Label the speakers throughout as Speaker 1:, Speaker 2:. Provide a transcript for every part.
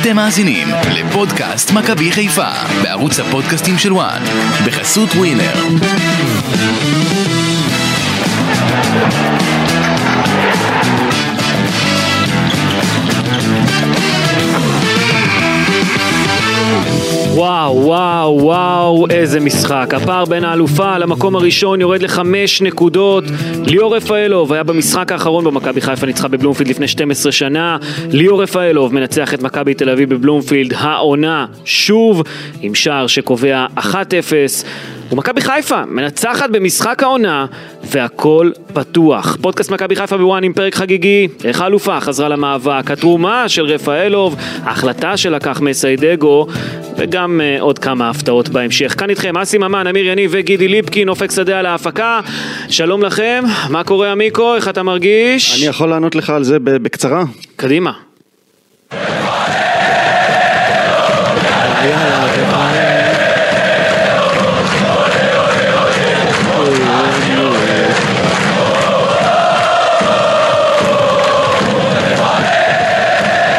Speaker 1: אתם מאזינים לפודקאסט מכבי חיפה בערוץ הפודקאסטים של וואן בחסות ווינר.
Speaker 2: וואו, וואו, וואו, איזה משחק. הפער בין האלופה למקום הראשון יורד לחמש נקודות. ליאור רפאלוב היה במשחק האחרון במכבי חיפה, ניצחה בבלומפילד לפני 12 שנה. ליאור רפאלוב מנצח את מכבי תל אביב בבלומפילד העונה שוב, עם שער שקובע 1-0. ומכבי חיפה מנצחת במשחק העונה, והכל פתוח. פודקאסט מכבי חיפה בוואן עם פרק חגיגי, איך האלופה חזרה למאבק, התרומה של רפאלוב, ההחלטה שלקח מסיידגו, וגם uh, עוד כמה הפתעות בהמשך. כאן איתכם אסי ממן, אמיר יניב וגידי ליפקין, אופק שדה על ההפקה. שלום לכם, מה קורה עמיקו, איך אתה מרגיש?
Speaker 3: אני יכול לענות לך על זה ב- בקצרה?
Speaker 2: קדימה.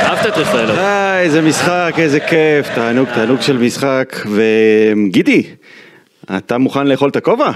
Speaker 2: אהבת את רפאלוב.
Speaker 3: אה, איזה משחק, איזה כיף, תענוג, תענוג של משחק. וגידי, אתה מוכן לאכול את הכובע?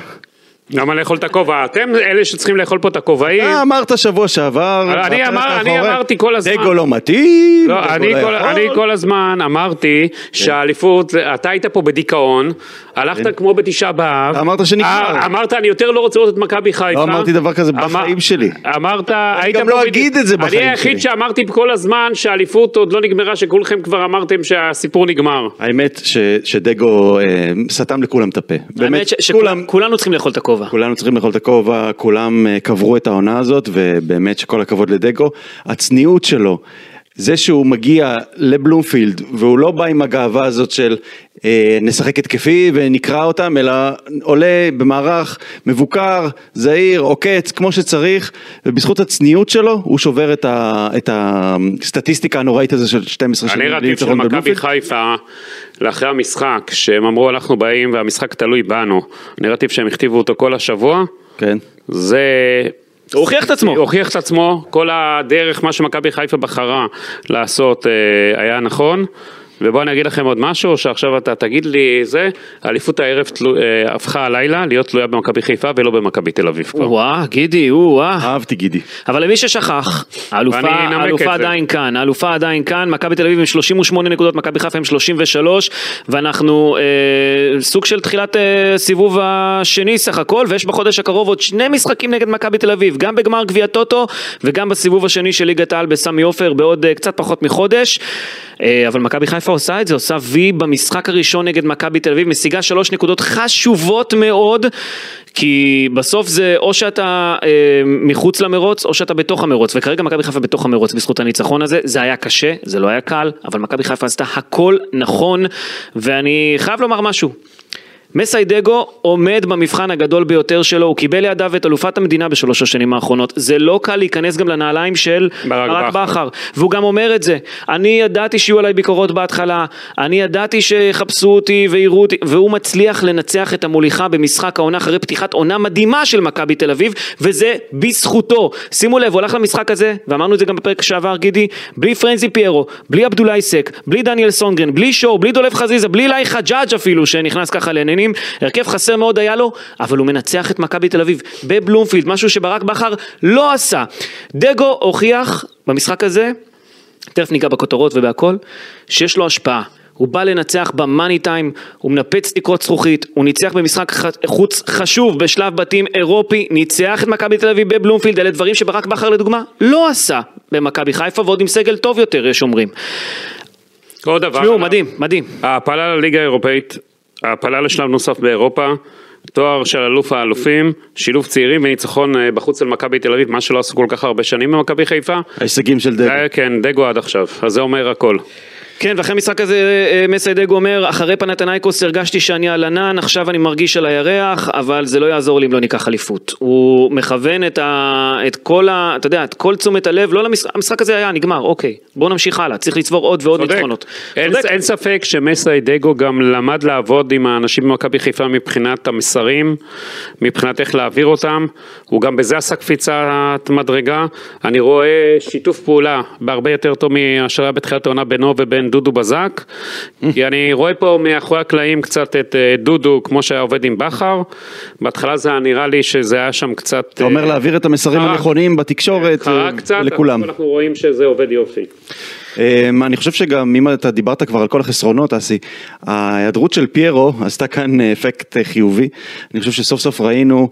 Speaker 4: למה לאכול את הכובע? אתם אלה שצריכים לאכול פה את הכובעים.
Speaker 3: אתה אמרת שבוע שעבר...
Speaker 4: כן. אני
Speaker 3: שאתה
Speaker 4: אמר-
Speaker 3: הולך
Speaker 4: אני
Speaker 3: מאחורי.
Speaker 4: אמרתי כל הזמן.
Speaker 3: דגו לא מתאים,
Speaker 4: לא,
Speaker 3: דגו
Speaker 4: אני,
Speaker 3: לא
Speaker 4: כל,
Speaker 3: יכול.
Speaker 4: אני כל הזמן אמרתי
Speaker 3: כן.
Speaker 4: שהאליפות, אתה היית פה בדיכאון, הלכת כמו בתשעה באב.
Speaker 3: אתה כן. אמרת שנגמר.
Speaker 4: אה, אמרת, אני יותר לא רוצה לראות את מכבי חיפה.
Speaker 3: לא אמרתי דבר כזה בחיים שלי.
Speaker 4: אמרת, היית
Speaker 3: גם
Speaker 4: פה
Speaker 3: לא
Speaker 4: בדיכ-
Speaker 3: אגיד את זה בחיים
Speaker 4: אני היחיד
Speaker 3: שלי.
Speaker 4: שאמרתי כל הזמן שהאליפות עוד לא נגמרה, שכולכם כבר אמרתם שהסיפור נגמר.
Speaker 3: האמת ש- שדגו אה, סתם לכולם את הפה.
Speaker 2: האמת
Speaker 3: באמת,
Speaker 2: ש-
Speaker 3: כולם...
Speaker 2: שכולנו צריכים לאכול את הכובע.
Speaker 3: כולנו צריכים לאכול את הכובע, כולם אה, קברו את העונה הזאת, ובאמת שכל הכבוד לדגו. הצניעות שלו, זה שהוא מגיע לבלומפילד, והוא לא בא עם הגאווה הזאת של אה, נשחק התקפי ונקרע אותם, אלא עולה במערך מבוקר, זהיר, עוקץ, כמו שצריך, ובזכות הצניעות שלו, הוא שובר את, ה, את הסטטיסטיקה הנוראית הזו של 12 שנים בלי
Speaker 4: הנרטיב של
Speaker 3: ניצחון
Speaker 4: מכבי
Speaker 3: בבלומפילד.
Speaker 4: חיפה, לאחרי המשחק, שהם אמרו אנחנו באים והמשחק תלוי בנו, הנרטיב שהם הכתיבו אותו כל השבוע,
Speaker 3: כן.
Speaker 4: זה...
Speaker 2: הוא הוכיח את עצמו.
Speaker 4: הוכיח את עצמו, כל הדרך, מה שמכבי חיפה בחרה לעשות אה, היה נכון. ובואו אני אגיד לכם עוד משהו, או שעכשיו אתה תגיד לי זה, אליפות הערב תלו, אה, הפכה הלילה להיות תלויה במכבי חיפה ולא במכבי תל אביב כבר.
Speaker 2: וואה, גידי, וואה.
Speaker 3: אהבתי גידי.
Speaker 2: אבל למי ששכח, האלופה
Speaker 4: ואני אנמק את
Speaker 2: האלופה
Speaker 4: זה.
Speaker 2: עדיין כאן, האלופה עדיין כאן, מכבי תל אביב עם 38 נקודות, מכבי חיפה עם 33, ואנחנו אה, סוג של תחילת אה, סיבוב השני סך הכל, ויש בחודש הקרוב עוד שני משחקים נגד מכבי תל אביב, גם בגמר גביע טוטו וגם בסיבוב השני של ליגת העל בסמי עופר בעוד אה, קצת פחות מחודש. אה, אבל מכבי חיפה עושה את זה, עושה וי במשחק הראשון נגד מכבי תל אביב, משיגה שלוש נקודות חשובות מאוד, כי בסוף זה או שאתה אה, מחוץ למרוץ או שאתה בתוך המרוץ, וכרגע מכבי חיפה בתוך המרוץ בזכות הניצחון הזה, זה היה קשה, זה לא היה קל, אבל מכבי חיפה עשתה הכל נכון, ואני חייב לומר משהו. מסיידגו עומד במבחן הגדול ביותר שלו, הוא קיבל לידיו את אלופת המדינה בשלוש השנים האחרונות. זה לא קל להיכנס גם לנעליים של
Speaker 4: ברק בכר.
Speaker 2: בכר, והוא גם אומר את זה. אני ידעתי שיהיו עליי ביקורות בהתחלה, אני ידעתי שיחפשו אותי ויראו אותי, והוא מצליח לנצח את המוליכה במשחק העונה אחרי פתיחת עונה מדהימה של מכבי תל אביב, וזה בזכותו. שימו לב, הוא הלך למשחק הזה, ואמרנו את זה גם בפרק שעבר, גידי, בלי פרנזי פיירו, בלי עבדולאי סק, בלי דניאל סונגרן, בלי שור, בלי דולב חזיזה, בלי אילי חג'אג' אפילו, שנכנס ככה לעניינים. הרכב חסר מאוד היה לו, אבל הוא מנצח את מכבי תל אביב בבלומפילד, משהו שברק בכר לא עשה. דגו הוכיח במשחק הזה תכף ניגע בכותרות ובהכל, שיש לו השפעה. הוא בא לנצח במאני טיים, הוא מנפץ תקרות זכוכית, הוא ניצח במשחק ח- חוץ חשוב בשלב בתים אירופי, ניצח את מכבי תל אביב בבלומפילד, אלה דברים שברק בכר לדוגמה לא עשה במכבי חיפה ועוד עם סגל טוב יותר יש אומרים.
Speaker 4: עוד דבר.
Speaker 2: תשמעו, מדהים, מדהים.
Speaker 4: ההעפלה לליגה האירופאית, ההעפלה לשלב נוסף באירופה, תואר של אלוף האלופים, שילוב צעירים וניצחון אה, בחוץ על מכבי תל אביב, מה שלא עשו כל כך הרבה שנים במכבי חיפה.
Speaker 3: ההישגים של דגו.
Speaker 4: אה, כן, דגו עד עכשיו, אז זה אומר הכל.
Speaker 2: כן, ואחרי משחק הזה אה, מסיידג אומר, אחרי פנתנייקוס הרגשתי שאני על ענן, עכשיו אני מרגיש על הירח, אבל זה לא יעזור לי אם לא ניקח אליפות. הוא מכוון את, ה, את כל ה... אתה יודע, את כל תשומת הלב, לא למשחק, המשחק הזה היה, נגמר, אוקיי, בואו נמשיך הלאה, צריך לצבור עוד ועוד
Speaker 4: צודק.
Speaker 2: ניצחונות.
Speaker 4: אין,
Speaker 2: צודק.
Speaker 4: אין ספק שמסי דגו גם למד לעבוד עם האנשים במכבי חיפה מבחינת המסרים, מבחינת איך להעביר אותם, הוא גם בזה עשה קפיצת מדרגה, אני רואה שיתוף פעולה בהרבה יותר טוב מאשר היה בתחילת העונה בינו ובין דודו בזק, כי אני רואה פה מאחורי הקלעים קצת את אה, דודו, כמו שהיה עובד עם בכר, בהתחלה זה היה נראה לי שזה היה שם קצת...
Speaker 3: אתה אומר להעביר את המסרים
Speaker 4: אה, חרק.
Speaker 3: הנכונים בתקשורת
Speaker 4: חרה
Speaker 3: אה,
Speaker 4: קצת,
Speaker 3: לכולם.
Speaker 4: אבל אנחנו רואים שזה עובד יופי.
Speaker 3: אמ, אני חושב שגם אם אתה דיברת כבר על כל החסרונות, אסי, ההיעדרות של פיירו עשתה כאן אה, אפקט אה, חיובי. אני חושב שסוף סוף ראינו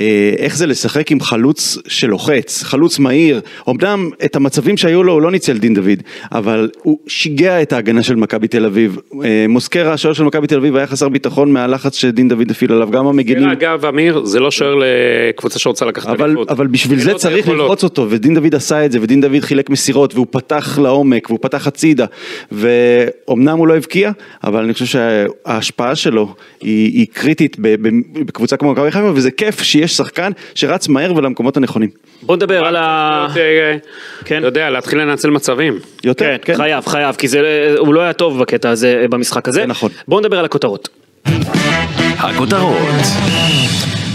Speaker 3: אה, איך זה לשחק עם חלוץ שלוחץ, חלוץ מהיר. אמנם את המצבים שהיו לו הוא לא ניצל דין דוד, אבל הוא שיגע את ההגנה של מכבי תל אביב. אה, מוסקרה, השוער של מכבי תל אביב, היה חסר ביטחון מהלחץ שדין דוד הפעיל עליו, גם המגינים.
Speaker 4: תראה, כן, אגב, אמיר, זה לא שוער לקבוצה שרוצה לקחת
Speaker 3: כן. אבל,
Speaker 4: אליפות. לא
Speaker 3: אבל בשביל
Speaker 4: אין
Speaker 3: זה
Speaker 4: לו את
Speaker 3: צריך
Speaker 4: היכולות.
Speaker 3: ללחוץ אותו, ודין דוד עשה את זה, ודין דוד חילק מסירות, והוא פתח לעומק, והוא פתח הצידה, ואומנם הוא לא הבקיע, אבל אני חושב שההשפעה שלו היא, היא קריטית ב- ב- בקבוצה כמו מכבי חיפה, וזה כיף שיש שחקן שרץ מהר ולמקומות הנכונים.
Speaker 2: בוא נדבר על ה...
Speaker 4: אה, אה,
Speaker 2: כן.
Speaker 4: אתה יודע, להתחיל לנצל מצבים.
Speaker 3: יותר,
Speaker 4: אה,
Speaker 2: כן, חייב, חייב, כי זה, הוא לא היה טוב בקטע הזה, אה, במשחק הזה.
Speaker 3: זה נכון.
Speaker 2: בואו נדבר על הכותרות.
Speaker 1: הכותרות.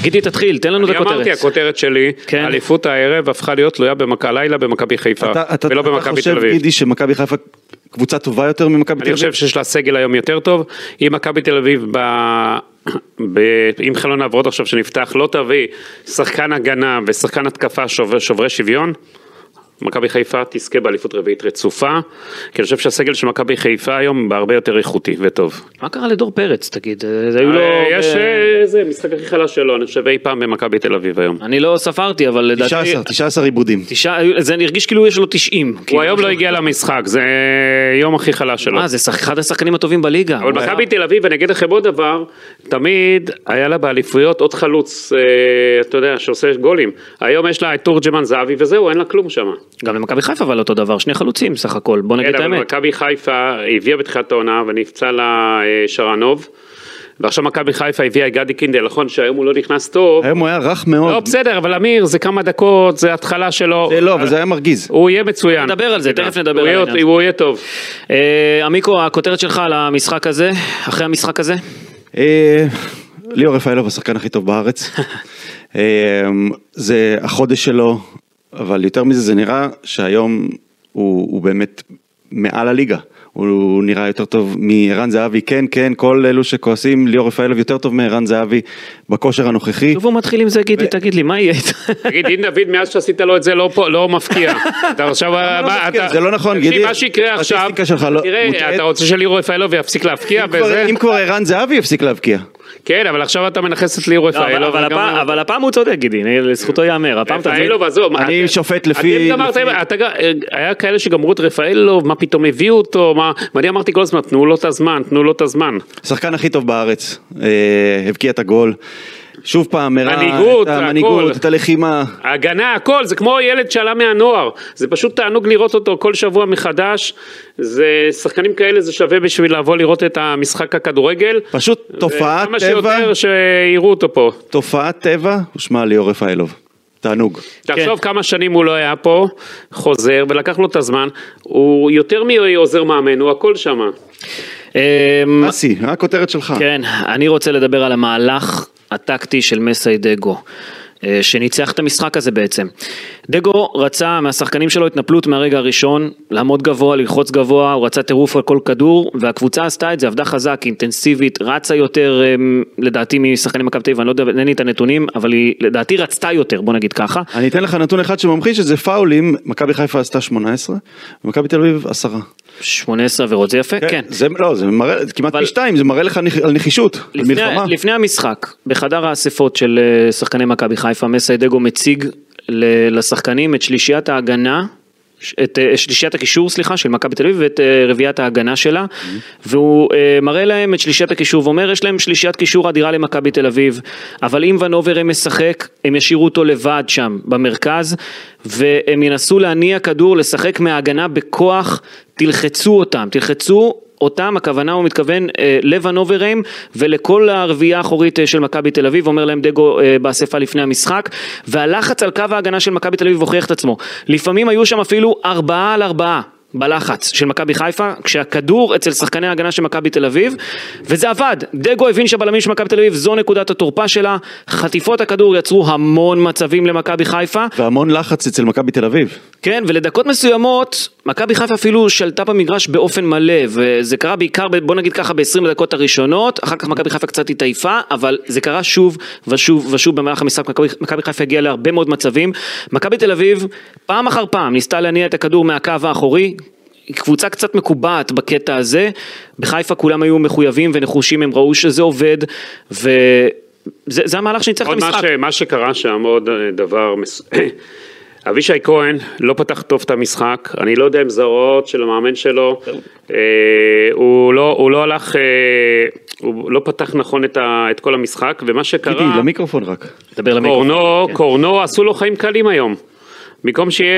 Speaker 2: גידי, תתחיל, תן לנו את
Speaker 4: אני
Speaker 2: הכותרת.
Speaker 4: אמרתי, הכותרת שלי,
Speaker 2: כן.
Speaker 4: אליפות הערב הפכה להיות תלויה במכ- במכבי חיפה,
Speaker 3: אתה, אתה,
Speaker 4: ולא
Speaker 3: אתה
Speaker 4: במכבי
Speaker 3: חושב,
Speaker 4: תל אביב.
Speaker 3: גידי, שמכבי חיפה קבוצה טובה יותר ממכבי תל
Speaker 4: אני
Speaker 3: אביב?
Speaker 4: חושב שיש לה סגל היום יותר טוב. אם מכבי תל אביב, ב... ב... אם חלון העברות עכשיו שנפתח, לא תביא שחקן הגנה ושחקן התקפה שובר, שוברי שוויון, מכבי חיפה תזכה באליפות רביעית רצופה, כי אני חושב שהסגל של מכבי חיפה היום בהרבה יותר איכותי וטוב.
Speaker 2: מה קרה לדור פרץ, תגיד? אה, זה היו לו...
Speaker 4: אה, יש
Speaker 2: ב-
Speaker 4: אה, זה, משחק הכי חלש שלו, אני חושב אי פעם במכבי תל אביב היום.
Speaker 2: אני לא ספרתי, אבל לדעתי...
Speaker 3: 19, 19 עיבודים.
Speaker 4: לא,
Speaker 2: תשעה, זה הרגיש כאילו יש לו 90.
Speaker 4: הוא היום לא הגיע למשחק, זה אה, יום הכי חלש שלו.
Speaker 2: מה, זה שח- אחד השחקנים הטובים בליגה.
Speaker 4: אבל
Speaker 2: הוא היה-
Speaker 4: מכבי תל אביב, אני אגיד לכם עוד דבר, תמיד היה לה באליפויות עוד חלוץ, אה, אתה יודע, שעושה גולים. היום יש לה את תורג'מן זהבי וזהו, אין לה כלום שם.
Speaker 2: גם למכבי חיפה אבל אותו דבר, שני חלוצים סך הכל, בוא נגיד
Speaker 4: כן,
Speaker 2: את
Speaker 4: אבל
Speaker 2: האמת.
Speaker 4: מכבי חיפה הביאה בתחילת העונה ונפצע לה אה, שרנוב. ועכשיו מכבי חיפה הביאה את גדי קינדל, נכון שהיום הוא לא נכנס טוב.
Speaker 3: היום הוא היה רך מאוד.
Speaker 4: לא, בסדר, אבל אמיר, זה כמה דקות, זה התחלה שלו.
Speaker 3: זה לא, אבל זה היה מרגיז.
Speaker 4: הוא יהיה מצוין.
Speaker 2: נדבר על זה, תכף נדבר
Speaker 4: הוא
Speaker 2: על
Speaker 4: יהיה-
Speaker 2: העניין.
Speaker 4: הוא יהיה טוב.
Speaker 2: אה, עמיקו, הכותרת שלך על המשחק הזה, אחרי המשחק הזה?
Speaker 3: אה, ליאור רפאלוב השחקן הכי טוב בארץ. אה, זה החודש שלו, אבל יותר מזה זה נראה שהיום הוא, הוא באמת מעל הליגה. הוא נראה יותר טוב מערן זהבי, כן, כן, כל אלו שכועסים, ליאור רפאלוב יותר טוב מערן זהבי בכושר הנוכחי.
Speaker 2: שוב הוא מתחיל עם זה, גידי, תגיד לי, מה יהיה איתו?
Speaker 4: תגיד, דין דוד, מאז שעשית לו את זה, לא פה- לא מפקיע. אתה עכשיו... מה,
Speaker 3: מפקיע?
Speaker 4: אתה-
Speaker 3: זה לא נכון,
Speaker 4: תקשיב,
Speaker 3: גידי.
Speaker 4: מה שיקרה עכשיו,
Speaker 3: הסטטיסטיקה שלך לא- מוטעית.
Speaker 4: תראה, אתה רוצה שלירו רפאלוב יפסיק להפקיע
Speaker 3: אם כבר-
Speaker 4: וזה?
Speaker 3: אם כבר ערן זהבי הפסיק להבקיע.
Speaker 4: כן, אבל עכשיו אתה מנכס את לירו
Speaker 2: לא, אבל-
Speaker 4: רפאלוב.
Speaker 2: אבל
Speaker 4: וגם
Speaker 2: הפעם-
Speaker 4: הוא-
Speaker 2: אבל הפעם הוא צודק, גידי, אני- לזכותו ייאמר, הפעם אתה...
Speaker 4: רפאלוב, עזוב.
Speaker 3: אני
Speaker 4: אתם-
Speaker 3: שופט לפי-
Speaker 4: אתם גמרתם,
Speaker 3: לפי-
Speaker 4: אתה גם- היה כאלה שגמרו את רפאלוב, מה פתאום הביאו אותו, מה... ואני אמרתי כל הזמן, תנו לו את הזמן, תנו לו את הזמן.
Speaker 3: השחקן הכי טוב בארץ, אה, הבקיע את הגול. שוב פעם, הראה
Speaker 4: מנהיגות,
Speaker 3: את
Speaker 4: הכל.
Speaker 3: המנהיגות, את הלחימה.
Speaker 4: ההגנה, הכל, זה כמו ילד שעלה מהנוער, זה פשוט תענוג לראות אותו כל שבוע מחדש, זה שחקנים כאלה זה שווה בשביל לבוא לראות את המשחק הכדורגל.
Speaker 3: פשוט תופעת
Speaker 4: כמה
Speaker 3: טבע,
Speaker 4: שיותר שיראו אותו פה.
Speaker 3: תופעת טבע, ושמע ליאור רפאלוב. תענוג.
Speaker 4: תחשוב כמה שנים הוא לא היה פה, חוזר ולקח לו את הזמן, הוא יותר מעוזר מאמן, הוא הכל שמה.
Speaker 2: אמ,
Speaker 3: אסי, מה הכותרת שלך?
Speaker 2: כן, אני רוצה לדבר על המהלך הטקטי של מסי דגו. אה, שניצח את המשחק הזה בעצם. דגו רצה מהשחקנים שלו התנפלות מהרגע הראשון, לעמוד גבוה, ללחוץ גבוה, הוא רצה טירוף על כל כדור, והקבוצה עשתה את זה, עבדה חזק, אינטנסיבית, רצה יותר, אמ, לדעתי, משחקנים מכבי תל אביב, אני לא יודע, אין לי את הנתונים, אבל היא לדעתי רצתה יותר, בוא נגיד ככה.
Speaker 3: אני אתן לך נתון אחד שממחיש את זה, פאולים, מכבי חיפה עשתה 18, ומכבי תל אביב 10.
Speaker 2: 18 עבירות, זה יפה, כן.
Speaker 3: זה, לא, זה מראה, זה כמעט
Speaker 2: אבל-
Speaker 3: פי שתיים, זה מראה לך נכ- על נחישות, על
Speaker 2: לפני,
Speaker 3: מלחמה.
Speaker 2: לפני המשחק, בחדר האספות של אה, שחקני מכבי חיפה, מסיידגו מציג ל- לשחקנים את שלישיית ההגנה. ש- את אה, שלישיית הקישור, סליחה, של מכבי תל אביב ואת אה, רביעיית ההגנה שלה, והוא אה, מראה להם את שלישיית הקישור ואומר, יש להם שלישיית קישור אדירה למכבי תל אביב, אבל אם ונוברם משחק, הם ישאירו אותו לבד שם, במרכז, והם ינסו להניע כדור, לשחק מההגנה בכוח, תלחצו אותם, תלחצו אותם, הכוונה הוא מתכוון אה, לבן אוברהיים ולכל הרביעייה האחורית אה, של מכבי תל אביב, אומר להם דגו אה, באספה לפני המשחק, והלחץ על קו ההגנה של מכבי תל אביב הוכיח את עצמו. לפעמים היו שם אפילו ארבעה על ארבעה. בלחץ של מכבי חיפה, כשהכדור אצל שחקני ההגנה של מכבי תל אביב, וזה עבד. דגו הבין שהבלמים של מכבי תל אביב זו נקודת התורפה שלה, חטיפות הכדור יצרו המון מצבים למכבי חיפה,
Speaker 3: והמון לחץ אצל מכבי תל אביב.
Speaker 2: כן, ולדקות מסוימות מכבי חיפה אפילו שלטה במגרש באופן מלא, וזה קרה בעיקר, ב- בוא נגיד ככה, ב-20 הדקות הראשונות, אחר כך מכבי חיפה קצת התעייפה, אבל זה קרה שוב ושוב ושוב במהלך המשחק, מכבי- מכבי חיפה הגיעה להרבה מאוד מצבים. מכבי תל אביב, פעם אחר פעם, ניסתה להניע את הכדור מהקו האחורי. היא קבוצה קצת מקובעת בקטע הזה, בחיפה כולם היו מחויבים ונחושים, הם ראו שזה עובד, וזה זה המהלך שניצח את
Speaker 4: עוד מה,
Speaker 2: המשחק.
Speaker 4: ש, מה שקרה שם, עוד אה, דבר, מס... אבישי כהן לא פתח טוב את המשחק, אני לא יודע אם זה הוראות של המאמן שלו, אה, הוא, לא, הוא לא הלך, אה, הוא לא פתח נכון את, ה, את כל המשחק, ומה
Speaker 3: גידי,
Speaker 4: שקרה,
Speaker 3: למיקרופון רק.
Speaker 2: דבר למיקרופון.
Speaker 3: כן.
Speaker 4: קורנו, קורנו עשו לו חיים קלים היום. במקום שיהיה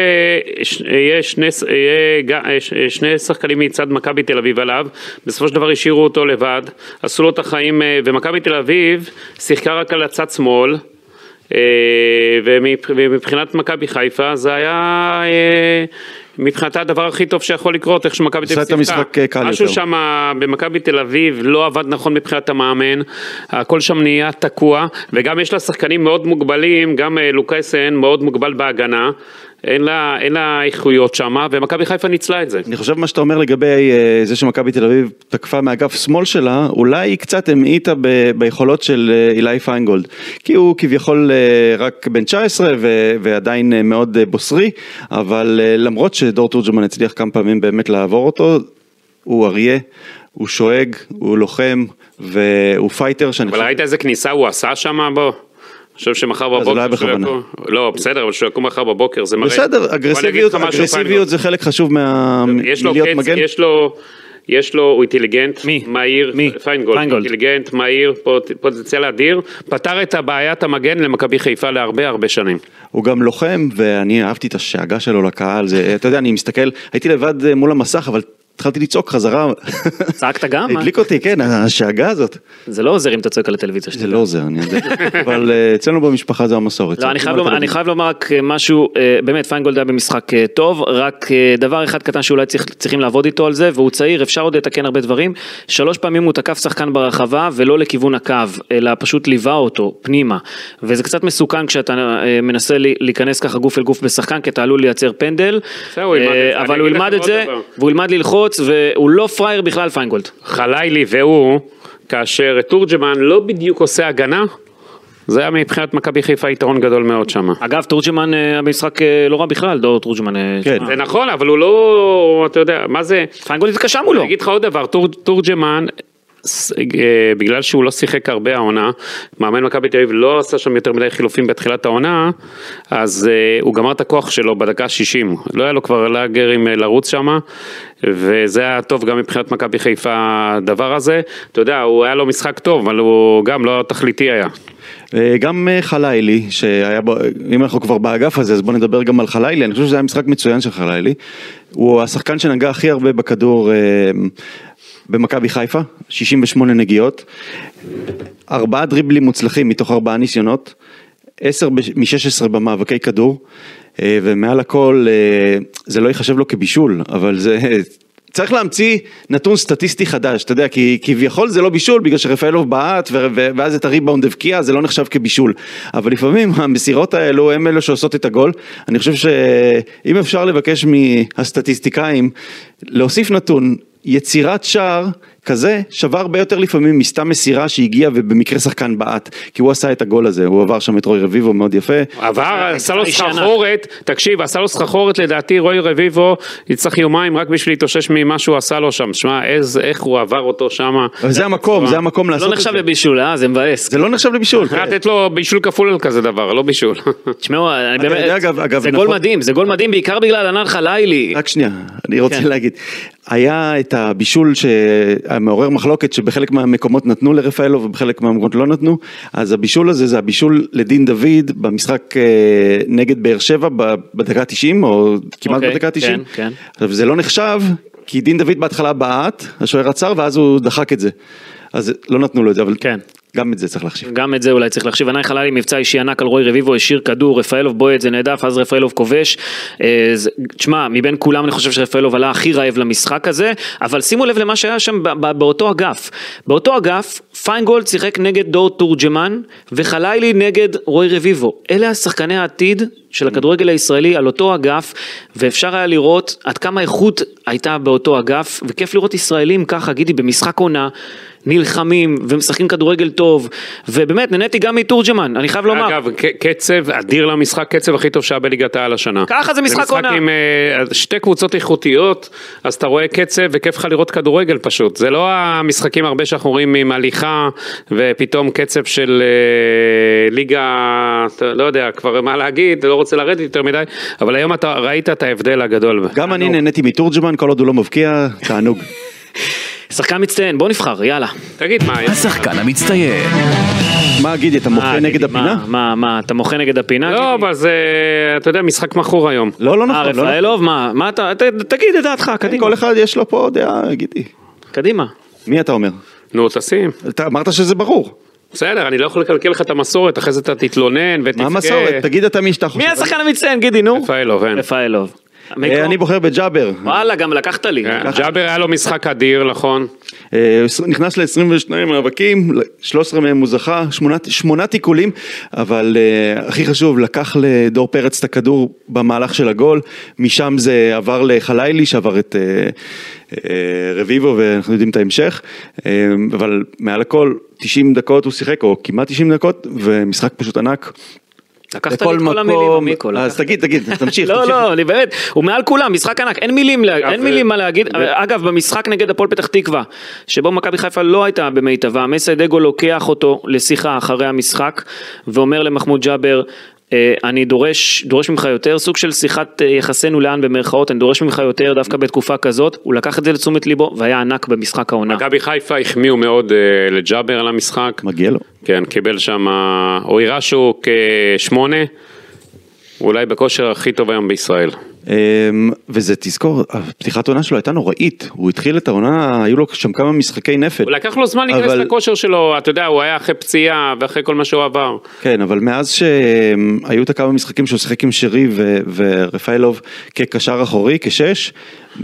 Speaker 4: ש- יהיה שני, ש- יהיה ג- אה, ש- שני שחקנים מצד מכבי תל אביב עליו, בסופו של דבר השאירו אותו לבד, עשו לו את החיים, אה, ומכבי תל אביב שיחקה רק על הצד שמאל, אה, ומבח- ומבחינת מכבי חיפה זה היה אה, מבחינתה הדבר הכי טוב שיכול לקרות, איך שמכבי תל אביב
Speaker 3: עשה את המשחק, אה, קל
Speaker 4: משהו
Speaker 3: יותר.
Speaker 4: שם במכבי תל אביב לא עבד נכון מבחינת המאמן, הכל שם נהיה תקוע, וגם יש לה שחקנים מאוד מוגבלים, גם אה, לוקאסן מאוד מוגבל בהגנה, אין לה, אין לה איכויות שם, ומכבי חיפה ניצלה את זה.
Speaker 3: אני חושב מה שאתה אומר לגבי אה, זה שמכבי תל אביב תקפה מאגף שמאל שלה, אולי היא קצת המעיטה ב- ביכולות של אה, אילי פיינגולד. כי הוא כביכול אה, רק בן 19 ו- ועדיין אה, מאוד אה, בוסרי, אבל אה, למרות שדור תורג'מן הצליח כמה פעמים באמת לעבור אותו, הוא אריה, הוא שואג, הוא לוחם והוא פייטר שאני
Speaker 4: אבל
Speaker 3: חושב...
Speaker 4: ראית איזה כניסה הוא עשה שם, בוא? אני חושב שמחר
Speaker 3: אז לא היה
Speaker 4: בבוקר שהוא
Speaker 3: בכוונה.
Speaker 4: יקום, לא בסדר, אבל שהוא יקום מחר בבוקר זה מראה, אבל
Speaker 3: בסדר,
Speaker 4: אני אגיד
Speaker 3: אגרסיביות,
Speaker 4: לך משהו,
Speaker 3: אגרסיביות
Speaker 4: פיינגולד.
Speaker 3: זה חלק חשוב מה...
Speaker 4: יש לו
Speaker 3: מלהיות
Speaker 4: קץ,
Speaker 3: מגן.
Speaker 4: יש לו, יש לו, הוא אינטליגנט,
Speaker 2: מי?
Speaker 4: מהיר,
Speaker 2: מי?
Speaker 4: פיינגולד,
Speaker 2: פיינגולד.
Speaker 4: אינטליגנט, מהיר, פוט- פוטנציאל אדיר, פתר את הבעיית המגן למכבי חיפה להרבה הרבה שנים.
Speaker 3: הוא גם לוחם, ואני אהבתי את השאגה שלו לקהל, זה, אתה יודע, אני מסתכל, הייתי לבד אה, מול המסך, אבל התחלתי לצעוק חזרה.
Speaker 2: צעקת גם? אה?
Speaker 3: הדליק אותי, כן, השאגה הזאת.
Speaker 2: זה לא עוזר אם אתה צועק על הטלוויזיה
Speaker 3: זה
Speaker 2: שלי.
Speaker 3: לא עוזר, אני יודע. אבל אה, אצלנו במשפחה זה המסורת.
Speaker 2: לא, אני חייב, לומר, אני חייב לומר רק אה, משהו, אה, באמת, פיינגולד היה במשחק אה, טוב, רק אה, דבר אחד קטן שאולי צריך, צריכים לעבוד איתו על זה, והוא צעיר, אפשר עוד לתקן הרבה דברים. שלוש פעמים הוא תקף שחקן ברחבה, ולא לכיוון הקו, אלא פשוט ליווה אותו פנימה. וזה קצת מסוכן כשאתה אה, מנסה לי- להיכנס ככה גוף אל גוף בשחקן, כי אתה עלול לייצר פנדל.
Speaker 4: בסדר, הוא ילמד את זה.
Speaker 2: אה,
Speaker 4: אני
Speaker 2: אבל הוא
Speaker 4: אגיד
Speaker 2: ילמד
Speaker 4: לכם
Speaker 2: את זה,
Speaker 4: עוד דבר.
Speaker 2: והוא ילמד ללחוץ, והוא לא פראייר בכלל, פיינגולד.
Speaker 4: חלילי והוא, כאשר תורג'מן לא בדיוק עושה הגנה, זה היה מבחינת מכבי חיפה יתרון גדול מאוד שם.
Speaker 2: אגב, תורג'מן, אה, המשחק אה, לא רע בכלל, דור תורג'מן. אה,
Speaker 3: כן.
Speaker 2: שמע,
Speaker 4: זה נכון, אבל הוא לא, אתה יודע, מה זה,
Speaker 2: פיינגולד התקשה מולו.
Speaker 4: אני אגיד לך עוד דבר, תור, תורג'מן, ס- אה, בגלל שהוא לא שיחק הרבה העונה, מאמן מכבי תל אביב לא עשה שם יותר מדי חילופים בתחילת העונה, אז אה, הוא גמר את הכוח שלו בדקה ה-60, לא היה לו כבר לאגרים אה, לרוץ שם, וזה היה טוב גם מבחינת מכבי חיפה הדבר הזה, אתה יודע, הוא היה לו משחק טוב, אבל הוא גם לא תכליתי היה.
Speaker 3: אה, גם אה, חלילי, שהיה, בו- אה, אם אנחנו כבר באגף הזה, אז בוא נדבר גם על חלילי, אני חושב שזה היה משחק מצוין של חלילי. הוא השחקן שנגע הכי הרבה בכדור אה, במכבי חיפה, 68 נגיעות. ארבעה דריבלים מוצלחים מתוך ארבעה ניסיונות, עשר מ-16 במאבקי כדור, אה, ומעל הכל אה, זה לא ייחשב לו כבישול, אבל זה... צריך להמציא נתון סטטיסטי חדש, אתה יודע, כי כביכול זה לא בישול, בגלל שרפאלוב בעט, ו- ו- ואז את הריבאונד הבקיע, זה לא נחשב כבישול. אבל לפעמים המסירות האלו הם אלה שעושות את הגול. אני חושב שאם אפשר לבקש מהסטטיסטיקאים להוסיף נתון, יצירת שער כזה שווה הרבה יותר לפעמים מסתם מסירה שהגיעה ובמקרה שחקן בעט, כי הוא עשה את הגול הזה, הוא עבר שם את רוי רביבו מאוד יפה.
Speaker 4: עבר, עשה לו
Speaker 2: ישנה.
Speaker 4: סחרחורת, תקשיב, עשה לו סחרחורת, לדעתי רוי רביבו יצטרך יומיים רק בשביל להתאושש ממה שהוא עשה לו שם. שמע, איז- איך הוא עבר אותו שם.
Speaker 3: אבל זה המקום, זה המקום
Speaker 2: לא
Speaker 3: לעשות את
Speaker 2: נחשב
Speaker 3: זה.
Speaker 2: לבישול, אה? זה מבאס.
Speaker 3: זה לא נחשב לבישול.
Speaker 4: צריך לתת לו בישול כפול על כזה דבר, לא בישול.
Speaker 2: תשמעו, אני
Speaker 3: אתה
Speaker 2: באמת,
Speaker 3: יודע, אגב- אגב,
Speaker 2: זה
Speaker 3: נכון-
Speaker 2: גול מדהים, זה גול מדהים בעיקר בגלל ענן חלילי.
Speaker 3: רק שנייה, אני רוצה
Speaker 2: כן.
Speaker 3: להגיד, היה את הבישול שמעורר מחלוקת שבחלק מהמקומות נתנו לרפאלו ובחלק מהמקומות לא נתנו, אז הבישול הזה זה הבישול לדין דוד במשחק אה, נגד באר שבע ב- בדקה 90 או כמעט
Speaker 2: אוקיי,
Speaker 3: בדקה 90.
Speaker 2: כן, כן.
Speaker 3: עכשיו זה לא נחשב, כי דין דוד בהתחלה בעט, השוער עצר ואז הוא דחק את זה. אז לא נתנו לו את זה, אבל
Speaker 2: כן.
Speaker 3: גם את זה צריך להחשיב.
Speaker 2: גם את זה אולי צריך להחשיב, ענן חלילי מבצע אישי ענק על רוי רביבו, השאיר כדור, רפאלוב בועט, זה נהדף, אז רפאלוב כובש. אה, זה- תשמע, מבין כולם אני חושב שרפאלוב עלה הכי רעב למשחק הזה, אבל שימו לב למה שהיה שם ב- ב- באותו אגף. באותו אגף, פיינגולד שיחק נגד דור תורג'מן, וחלילי נגד רוי רביבו. אלה השחקני העתיד של הכדורגל הישראלי על אותו אגף, ואפשר היה לראות עד כמה איכות הייתה באותו אגף, וכיף לראות ישראלים ככה, גידי, במשחק עונה, נלחמים ומשחקים כדורגל טוב, ובאמת, נהניתי גם מתורג'מן, אני חייב לומר.
Speaker 4: אגב, ק- קצב אדיר למשחק, קצב הכי טוב שהיה בליגת העל השנה.
Speaker 2: ככה זה משחק עונה.
Speaker 4: זה משחק עם אה, שתי קבוצות איכותיות, אז אתה רואה קצב וכיף לך לראות כדורגל פשוט. זה לא המשחקים הרבה שאנחנו רואים עם הליכה ופתאום קצב של אה, ליגה, אתה לא יודע כבר מה להגיד, לא רוצה לרדת יותר מדי, אבל היום אתה ראית את ההבדל הגדול.
Speaker 3: גם אני נהניתי מתורג'מן, כל עוד הוא לא מבקיע, תענוג.
Speaker 2: שחקן מצטיין, בוא נבחר, יאללה.
Speaker 4: תגיד מה, יש-
Speaker 1: השחקן המצטיין.
Speaker 3: מה גידי, אתה
Speaker 2: אה,
Speaker 3: מוחה נגד
Speaker 2: גידי,
Speaker 3: הפינה?
Speaker 2: מה, מה, מה, אתה מוחה נגד הפינה? גידי?
Speaker 4: לא, אבל זה, אתה יודע, משחק מכור היום.
Speaker 3: לא, לא
Speaker 2: אה,
Speaker 3: נכון, לא נכון.
Speaker 2: רפאלוב, מה, מה אתה, ת- תגיד את דעתך, קדימה.
Speaker 3: כל אחד יש לו פה דעה, גידי.
Speaker 2: קדימה.
Speaker 3: מי אתה אומר?
Speaker 4: נו, תשים.
Speaker 3: אתה אמרת שזה ברור.
Speaker 4: בסדר, אני לא יכול לקלקל לך את המסורת, אחרי זה אתה תתלונן ותבכה.
Speaker 3: מה המסורת? תגיד אתה מי שאתה חושב.
Speaker 2: מי השחקן המצטיין, גידי, נו?
Speaker 4: רפאלוב, אין.
Speaker 2: רפאלוב.
Speaker 3: אה, אני בוחר בג'אבר.
Speaker 2: וואלה, גם לקחת לי.
Speaker 4: כן, ג'אבר היה לו משחק אדיר, נכון?
Speaker 3: אה, הוא נכנס ל-22 מאבקים, ל- 13 מהם הוא זכה, שמונה- שמונה תיקולים, אבל אה, הכי חשוב, לקח לדור פרץ את הכדור במהלך של הגול, משם זה עבר לחלילי שעבר את אה, אה, רביבו ואנחנו יודעים את ההמשך, אה, אבל מעל הכל 90 דקות הוא שיחק, או כמעט 90 דקות, ומשחק פשוט ענק.
Speaker 2: לקחת לי את כל המילים, עמיקו.
Speaker 3: אז
Speaker 2: לקחת.
Speaker 3: תגיד, תגיד, תמשיך.
Speaker 2: לא,
Speaker 3: תמשיך.
Speaker 2: לא, אני באמת, הוא מעל כולם, משחק ענק, אין מילים, לה- אין
Speaker 4: ו-
Speaker 2: מילים מה להגיד. אגב, במשחק נגד הפועל פתח תקווה, שבו מכבי חיפה לא הייתה במיטבה, מסיידגו לוקח אותו לשיחה אחרי המשחק, ואומר למחמוד ג'אבר, אה, אני דורש, דורש ממך יותר, סוג של שיחת אה, יחסינו לאן במרכאות, אני דורש ממך יותר דווקא בתקופה כזאת, הוא לקח את זה לתשומת ליבו, והיה ענק במשחק העונה.
Speaker 4: מכבי חיפה החמיאו מאוד אה, לג'אבר על המשחק.
Speaker 3: מגיע לו.
Speaker 4: כן, קיבל שם, אה, הוא הראה שהוא כשמונה, אולי בכושר הכי טוב היום בישראל.
Speaker 3: אמ, וזה תזכור, פתיחת העונה שלו הייתה נוראית, הוא התחיל את העונה, היו לו שם כמה משחקי נפל.
Speaker 4: לקח לו זמן להיכנס
Speaker 3: אבל-
Speaker 4: לכושר שלו, אתה יודע, הוא היה אחרי פציעה ואחרי כל מה שהוא עבר.
Speaker 3: כן, אבל מאז שהיו את הכמה משחקים שהוא שיחק עם שרי ו- ורפאלוב כקשר אחורי, כשש,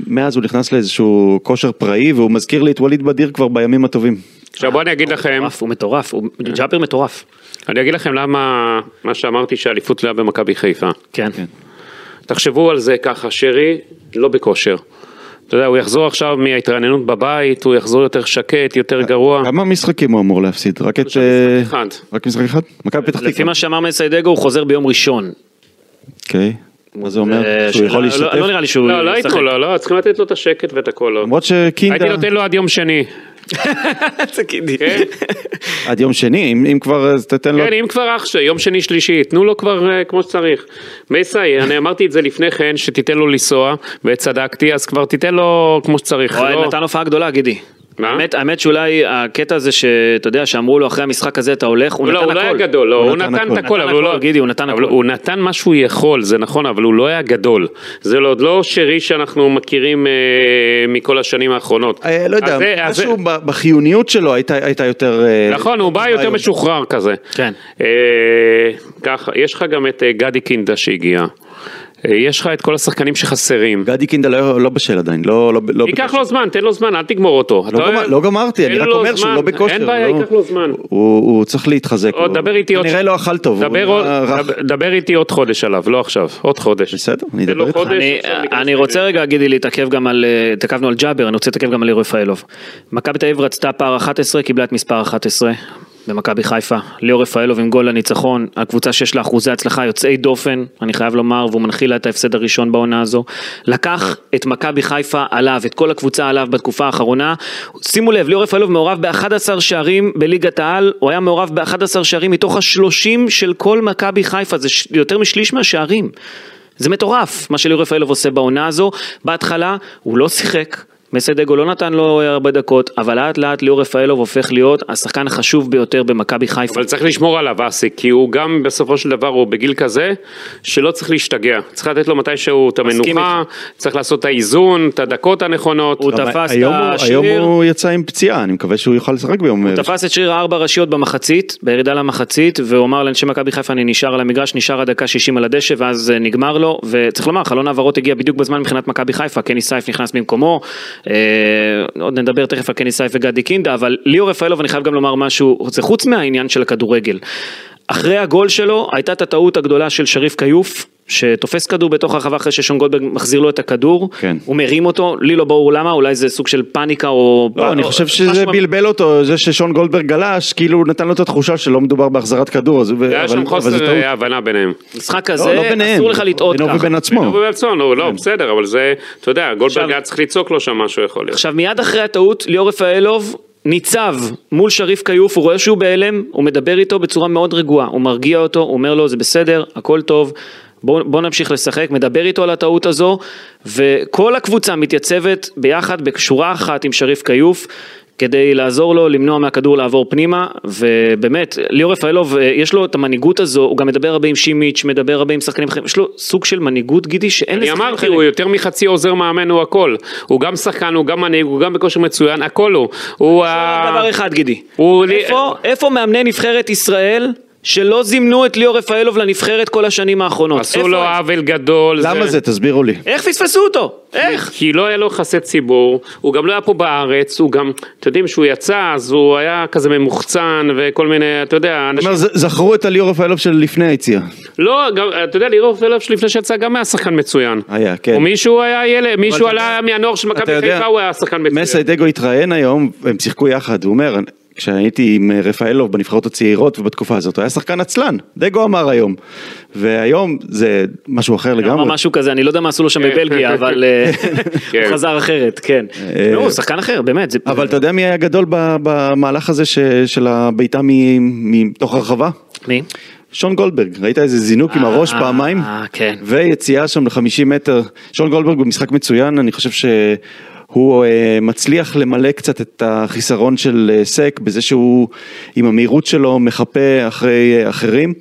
Speaker 3: מאז הוא נכנס לאיזשהו כושר פראי, והוא מזכיר לי את ווליד בדיר כבר בימים הטובים.
Speaker 4: עכשיו בוא אני אגיד
Speaker 3: אה,
Speaker 4: לכם,
Speaker 2: מטורף, הוא מטורף, הוא ג'אבר מטורף.
Speaker 4: אני אגיד לכם למה, מה שאמרתי שהאליפות תלויה במכבי חיפה.
Speaker 2: כן.
Speaker 4: תחשבו על זה ככה, שרי לא בכושר. אתה יודע, הוא יחזור עכשיו מההתרעננות בבית, הוא יחזור יותר שקט, יותר גרוע.
Speaker 3: כמה משחקים הוא אמור להפסיד? רק את...
Speaker 4: משחק
Speaker 3: אה,
Speaker 4: אחד.
Speaker 3: רק משחק אחד? מכבי פתח
Speaker 2: לפי
Speaker 3: תקווה.
Speaker 2: מה שאמר מסיידגו, הוא חוזר ביום ראשון.
Speaker 3: אוקיי. מה זה אומר?
Speaker 2: אה,
Speaker 3: שהוא
Speaker 2: שאלה-
Speaker 3: יכול
Speaker 2: לא-
Speaker 3: להשתתף?
Speaker 2: לא נראה לי שהוא
Speaker 4: לא, לא
Speaker 2: ישחק.
Speaker 4: ייתנו לו, לא, צריכים לתת לו את השקט ואת הכל. לא.
Speaker 3: למרות
Speaker 4: הייתי
Speaker 3: שקינדה
Speaker 4: נותן לו עד יום שני.
Speaker 2: זה גידי.
Speaker 4: כן,
Speaker 3: עד יום שני, אם- אם כבר אז תתן לו...
Speaker 4: כן, אם כבר אח שלי, יום שני שלישי, תנו לו כבר אה, כמו שצריך. מסי, אני אמרתי את זה לפני כן, שתיתן לו לנסוע, וצדקתי, אז כבר תיתן לו כמו שצריך.
Speaker 2: וואי,
Speaker 4: לא-
Speaker 2: נתן הופעה גדולה, גידי.
Speaker 4: מה?
Speaker 2: האמת, האמת שאולי הקטע הזה שאתה יודע שאמרו לו אחרי המשחק הזה אתה הולך, הוא
Speaker 4: לא,
Speaker 2: נתן
Speaker 4: הוא לא היה
Speaker 2: הכל.
Speaker 4: גדול, לא,
Speaker 3: הוא
Speaker 4: הוא
Speaker 3: נתן
Speaker 4: נתן את
Speaker 3: הכל.
Speaker 4: הכל,
Speaker 2: נתן
Speaker 4: אבל הוא לא...
Speaker 2: הכל, גידי, הוא נתן
Speaker 4: אבל
Speaker 2: הכל.
Speaker 4: הוא נתן מה שהוא יכול, זה נכון, אבל הוא לא היה גדול. זה לא- עוד לא שרי שאנחנו מכירים אה, מכל השנים האחרונות.
Speaker 3: אה, לא יודע,
Speaker 4: אז זה- אז זה-
Speaker 3: משהו ב- בחיוניות שלו הייתה הייתה יותר... אה,
Speaker 4: נכון, הוא בא יותר משוחרר כזה.
Speaker 2: כן.
Speaker 4: אה, ככה, יש לך גם את אה, גדי קינדה שהגיע. אה, יש לך את כל השחקנים שחסרים.
Speaker 3: גדי קינדה לא לא בשל עדיין, לא... לא- לא
Speaker 4: ייקח
Speaker 3: בכושר.
Speaker 4: לו זמן, תן לו זמן, אל תגמור אותו. אתה-
Speaker 3: לא, גמר, לא גמרתי, אני
Speaker 4: תן
Speaker 3: רק
Speaker 4: לו
Speaker 3: אומר שהוא
Speaker 4: זמן,
Speaker 3: לא בכושר.
Speaker 4: אין בעיה,
Speaker 3: לא-
Speaker 4: ייקח לו זמן.
Speaker 3: הוא, הוא צריך להתחזק.
Speaker 4: עוד
Speaker 3: הוא-
Speaker 4: דבר איתי עוד...
Speaker 3: כנראה לא אכל טוב. הוא
Speaker 4: דבר
Speaker 3: נראה
Speaker 4: עוד-
Speaker 3: רך.
Speaker 4: דבר- דבר איתי עוד חודש עליו, לא עכשיו, עוד חודש.
Speaker 3: בסדר, אני
Speaker 4: תן לו
Speaker 3: אדבר איתך.
Speaker 4: לא חודש,
Speaker 2: אני-
Speaker 4: עכשיו ניכנס
Speaker 2: אני רוצה רגע, גידי, להתעכב גם על, אה, התעכבנו על ג'אבר, אני רוצה להתעכב גם על ליאור רפאלוב. מכבי תל אביב רצתה פער 11, קיבלה את מספר 11 במכבי חיפה. ליאור רפאלוב עם גול לניצחון, הקבוצה שיש לה אחוזי הצלחה יוצאי דופן, אני חייב לומר, והוא מנחיל לה את ההפסד הראשון בעונה הזו. לקח את מכבי חיפה עליו, את כל הקבוצה עליו בתקופה האחרונה. שימו לב, ליאור רפאלוב מעורב ב-11 שערים בליגת העל, הוא היה מעורב ב-11 שערים מתוך ה-30 של כל מכבי חיפה, זה ש- יותר משליש מהשערים. זה מטורף מה שליאור רפאלוב עושה בעונה הזו. בהתחלה הוא לא שיחק, מסיידגו לא נתן לו הרבה דקות, אבל לאט לאט ליאור רפאלוב הופך להיות השחקן החשוב ביותר במכבי חיפה.
Speaker 4: אבל צריך לשמור עליו אסי, כי הוא גם בסופו של דבר הוא בגיל כזה שלא צריך להשתגע. צריך לתת לו מתי שהוא את
Speaker 2: מסכים
Speaker 4: המנוחה, צריך לעשות את האיזון, את הדקות הנכונות.
Speaker 2: הוא
Speaker 3: אבל
Speaker 2: תפס
Speaker 3: היום
Speaker 2: את
Speaker 3: הוא-
Speaker 2: השריר.
Speaker 3: היום הוא יצא עם פציעה, אני מקווה שהוא יוכל לשחק ביום... ראשון.
Speaker 2: תפס את שריר הארבע ראשיות במחצית, בירידה למחצית, והוא אמר לאנשי מכבי חיפה אני נשאר על המגרש, נשאר עד דקה 60 על הדשא, ואז אה, נגמר לו, וצריך לומר, חלון העברות הגיע בדיוק בזמן מבחינת מכבי חיפה, קני סייף נכנס במקומו, אה, עוד נדבר תכף על קני סייף וגדי קינדה, אבל ליאור רפאלוב, אני חייב גם לומר משהו, זה חוץ מהעניין של הכדורגל. אחרי הגול שלו, הייתה את הטעות הגדולה של שריף כיוף. שתופס כדור בתוך הרחבה אחרי ששון גולדברג מחזיר לו את הכדור,
Speaker 3: כן.
Speaker 2: הוא מרים אותו, לי לא ברור למה, אולי זה סוג של פאניקה או...
Speaker 3: לא, אני
Speaker 4: אה,
Speaker 2: או-
Speaker 3: חושב שזה
Speaker 2: משהו-
Speaker 3: בלבל אותו, זה ששון גולדברג גלש, כאילו הוא נתן לו את התחושה שלא מדובר בהחזרת כדור, אז-
Speaker 4: היה
Speaker 3: אבל
Speaker 4: שם
Speaker 3: אבל זה
Speaker 4: חוסר
Speaker 3: טעות.
Speaker 4: אה, הבנה ביניהם.
Speaker 2: משחק
Speaker 3: לא
Speaker 2: כזה,
Speaker 3: ביניהם.
Speaker 2: אסור לך לטעות
Speaker 3: בינו
Speaker 2: ככה.
Speaker 3: ובין עצמו. כן.
Speaker 4: הוא ברצון, הוא לא, בסדר, אבל זה, אתה יודע, גולדברג היה צריך לצעוק לו שם משהו יכול להיות.
Speaker 2: עכשיו מיד אחרי הטעות, ליאור רפאלוב ניצב מול שריף כיוף, הוא רואה שהוא בהלם, הוא מדבר איתו בצורה מאוד רגועה, הוא מרגיע אותו, הוא אומר לו זה בסדר, הכל טוב. בוא, בוא נמשיך לשחק, מדבר איתו על הטעות הזו, וכל הקבוצה מתייצבת ביחד בשורה אחת עם שריף כיוף, כדי לעזור לו למנוע מהכדור לעבור פנימה, ובאמת, ליאור רפאלוב, אה, יש לו את המנהיגות הזו, הוא גם מדבר הרבה עם שימיץ', מדבר הרבה עם שחקנים אחרים, יש לו סוג של מנהיגות, גידי, שאין
Speaker 4: אני
Speaker 2: לשחקנים
Speaker 4: אמרתי,
Speaker 2: אחרים.
Speaker 4: הוא יותר מחצי עוזר מאמן, הוא הכל. הוא גם שחקן, הוא גם מנהיג, הוא גם בכושר מצוין, הכל הוא. הוא
Speaker 2: רק
Speaker 4: ה-
Speaker 2: דבר אחד גידי,
Speaker 4: אה, הוא-
Speaker 2: איפה- איפה מאמני נבחרת ישראל שלא זימנו את ליאור רפאלוב לנבחרת כל השנים האחרונות?
Speaker 4: עשו
Speaker 2: איפה
Speaker 4: לו אה-
Speaker 2: הם?
Speaker 4: עוול גדול.
Speaker 3: למה זה? תסבירו לי.
Speaker 2: איך פספסו אותו? איך?
Speaker 4: כי לא היה לו יחסי ציבור, הוא גם לא היה פה בארץ, הוא גם, אתם יודעים, שהוא יצא, אז הוא היה כזה ממוחצן וכל מיני, אתה יודע, אנשים...
Speaker 3: כלומר, לא, ז- זכרו את הליאור רפאלוב של לפני היציאה.
Speaker 4: לא, גם, אתה יודע, ליאור פלאפ לפני שיצא גם היה שחקן מצוין.
Speaker 3: היה, כן.
Speaker 4: או מישהו היה ילד, מישהו
Speaker 3: אתה
Speaker 4: עלה מהנוער של
Speaker 3: אתה
Speaker 4: מכבי
Speaker 3: יודע,
Speaker 4: חיפה, הוא היה שחקן
Speaker 3: מסי
Speaker 4: מצוין.
Speaker 3: דגו התראיין היום, הם שיחקו יחד, הוא אומר, כשהייתי עם אה, רפאלוב בנבחרות הצעירות ובתקופה הזאת, הוא היה שחקן עצלן, דגו אמר היום. והיום זה משהו אחר
Speaker 2: הוא אמר
Speaker 3: לגמרי.
Speaker 2: משהו כזה, אני לא יודע מה עשו לו שם
Speaker 4: כן.
Speaker 2: בבלגיה, אבל אה,
Speaker 4: כן.
Speaker 2: הוא חזר אחרת, כן.
Speaker 3: אה,
Speaker 2: נו, הוא שחקן אחר, באמת. זה-
Speaker 3: אבל אתה יודע מי היה גדול ב- במהלך הזה ש- של הבעיטה מ- מתוך הרחבה?
Speaker 2: מי?
Speaker 3: שון גולדברג, ראית איזה זינוק עם הראש פעמיים?
Speaker 2: אה, כן.
Speaker 3: ויציאה שם ל-50 מטר. שון גולדברג הוא משחק מצוין, אני חושב שהוא אה, מצליח למלא קצת את החיסרון של אה, סק בזה שהוא עם המהירות שלו מחפה אחרי אה, אחרים.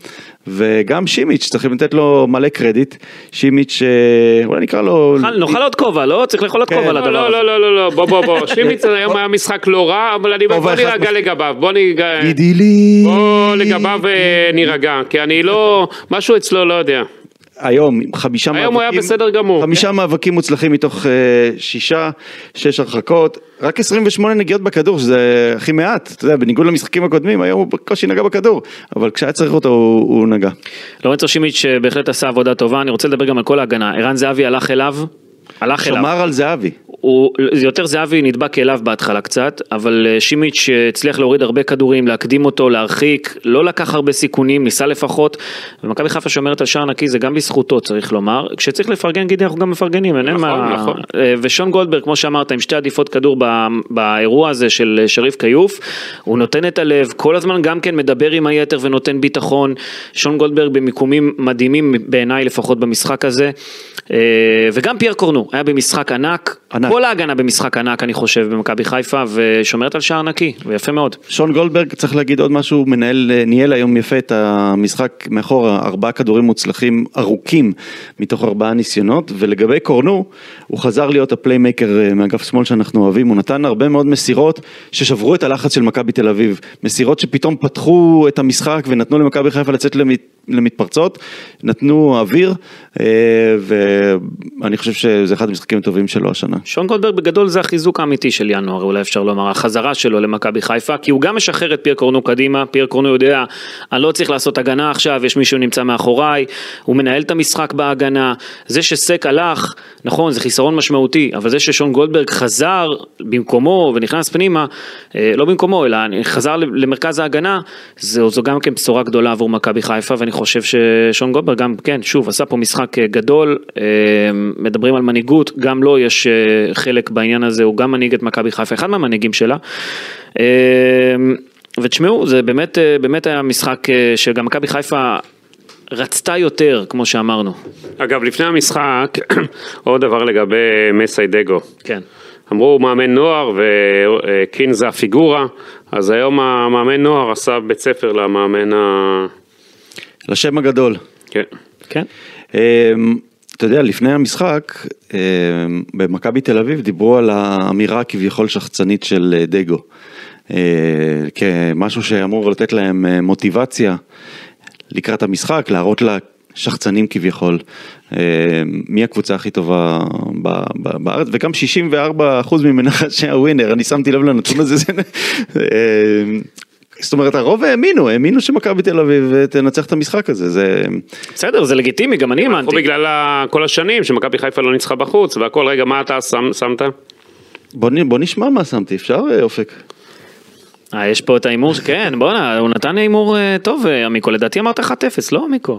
Speaker 3: וגם שימיץ', צריכים לתת לו מלא קרדיט. שימיץ', אה, אולי נקרא לו...
Speaker 2: נאכל- נאכל עוד כובע, לא? צריך לאכול עוד
Speaker 3: כן.
Speaker 2: כובע
Speaker 4: לא,
Speaker 2: לדבר
Speaker 4: לא,
Speaker 2: הזה.
Speaker 4: לא, לא, לא, לא, בוא, בוא, בוא, שימיץ היום היה משחק לא רע, אבל אני, בוא
Speaker 3: כובע אחד
Speaker 4: נירגע
Speaker 3: מס-
Speaker 4: לגביו, בוא נירגע,
Speaker 3: גידי לי...
Speaker 4: בוא לגביו אה, נירגע, כי אני לא, משהו אצלו לא יודע.
Speaker 3: היום, עם חמישה מאבקים.
Speaker 4: היום הוא היה בסדר גמור. כן.
Speaker 3: חמישה מאבקים מוצלחים מתוך אה, שישה, שש הרחקות, רק 28 נגיעות בכדור, שזה הכי מעט, אתה יודע, בניגוד למשחקים הקודמים, היום הוא בקושי נגע בכדור, אבל כשהיה צריך אותו הוא, הוא נגע.
Speaker 2: לורנצו שימיץ' אה, בהחלט עשה עבודה טובה, אני רוצה לדבר גם על כל ההגנה. ערן זהבי הלך אליו, הלך אליו.
Speaker 3: שמר על זהבי.
Speaker 2: הוא, זה יותר זהבי נדבק אליו בהתחלה קצת, אבל אה, שימיץ' אה, הצליח להוריד הרבה כדורים, להקדים אותו, להרחיק, לא לקח הרבה סיכונים, ניסה לפחות. ומכבי חיפה שומרת על שער נקי, זה גם בזכותו צריך לומר. כשצריך לפרגן, גידי, אנחנו גם מפרגנים, אין
Speaker 4: נכון,
Speaker 2: מה...
Speaker 4: נכון.
Speaker 2: אה, ושון גולדברג, כמו שאמרת, עם שתי עדיפות כדור ב- באירוע הזה של אה, שריף כיוף, הוא נותן את הלב, כל הזמן גם כן מדבר עם היתר ונותן ביטחון. שון גולדברג במיקומים מדהימים בעיניי לפחות במשחק הזה. אה, וגם פייר קורנו היה במשחק ענק,
Speaker 3: ענק.
Speaker 2: כל ההגנה במשחק ענק אני חושב במכבי חיפה ושומרת על שער נקי ויפה מאוד.
Speaker 3: שון גולדברג, צריך להגיד עוד משהו, הוא מנהל, אה, ניהל היום יפה את המשחק מאחורה, ארבעה כדורים מוצלחים ארוכים מתוך ארבעה ניסיונות, ולגבי קורנו, הוא חזר להיות הפליימייקר אה, מאגף שמאל שאנחנו אוהבים, הוא נתן הרבה מאוד מסירות ששברו את הלחץ של מכבי תל אביב, מסירות שפתאום פתחו את המשחק ונתנו למכבי חיפה לצאת למת, למתפרצות, נתנו אוויר, אה, ואני חושב שזה אחד המשחקים הטובים שלו השנה.
Speaker 2: שון גולדברג בגדול זה החיזוק האמיתי של ינואר, אולי אפשר לומר, החזרה שלו למכבי חיפה, כי הוא גם משחרר את פייר קורנו קדימה, פייר קורנו יודע, אני לא צריך לעשות הגנה עכשיו, יש מישהו נמצא מאחוריי, הוא מנהל את המשחק בהגנה, זה שסק הלך, נכון, זה חיסרון משמעותי, אבל זה ששון גולדברג חזר במקומו ונכנס פנימה, אה, לא במקומו, אלא חזר למרכז ההגנה, זו, זו גם כן בשורה גדולה עבור מכבי חיפה, ואני חושב ששון גולדברג גם, כן, שוב, עשה פה משחק אה, גדול, אה, מדברים על מנהיגות, גם לו יש אה, חלק בעניין הזה, הוא גם מנהיג את מכבי חיפה, אחד מהמנהיגים שלה. אה, ותשמעו, זה באמת, אה, באמת היה משחק אה, שגם מכבי חיפה רצתה יותר, כמו שאמרנו.
Speaker 4: אגב, לפני המשחק, עוד דבר לגבי מסיידגו.
Speaker 2: כן.
Speaker 4: אמרו הוא מאמן נוער וקין זה הפיגורה, אז היום המאמן נוער עשה בית ספר למאמן ה...
Speaker 3: לשם הגדול.
Speaker 4: כן.
Speaker 2: כן?
Speaker 3: אמ, אתה יודע, לפני המשחק, אמ, במכבי תל אביב דיברו על האמירה הכביכול שחצנית של אה, דגו, אה, כן, כמשהו שאמור לתת להם אה, מוטיבציה לקראת המשחק, להראות לה, שחצנים כביכול, אה, מי הקבוצה הכי טובה ב, ב, בארץ, וגם 64% ממנחשי הווינר, אני שמתי לב לנתון הזה, זה- אה, זאת אומרת הרוב האמינו, האמינו שמכבי תל אביב אה, תנצח את המשחק הזה, זה...
Speaker 2: בסדר, זה לגיטימי, גם אני
Speaker 4: או
Speaker 2: האמנתי.
Speaker 4: בגלל ה- כל השנים שמכבי חיפה לא ניצחה בחוץ והכל, רגע, מה אתה שם- שמת?
Speaker 3: בוא, נ- בוא נשמע מה שמתי, אפשר אה, אופק?
Speaker 2: אה, יש פה את ההימור, כן, בואנה, הוא נתן הימור אה, טוב, אה, עמיקו, לדעתי אמרת 1-0, לא עמיקו?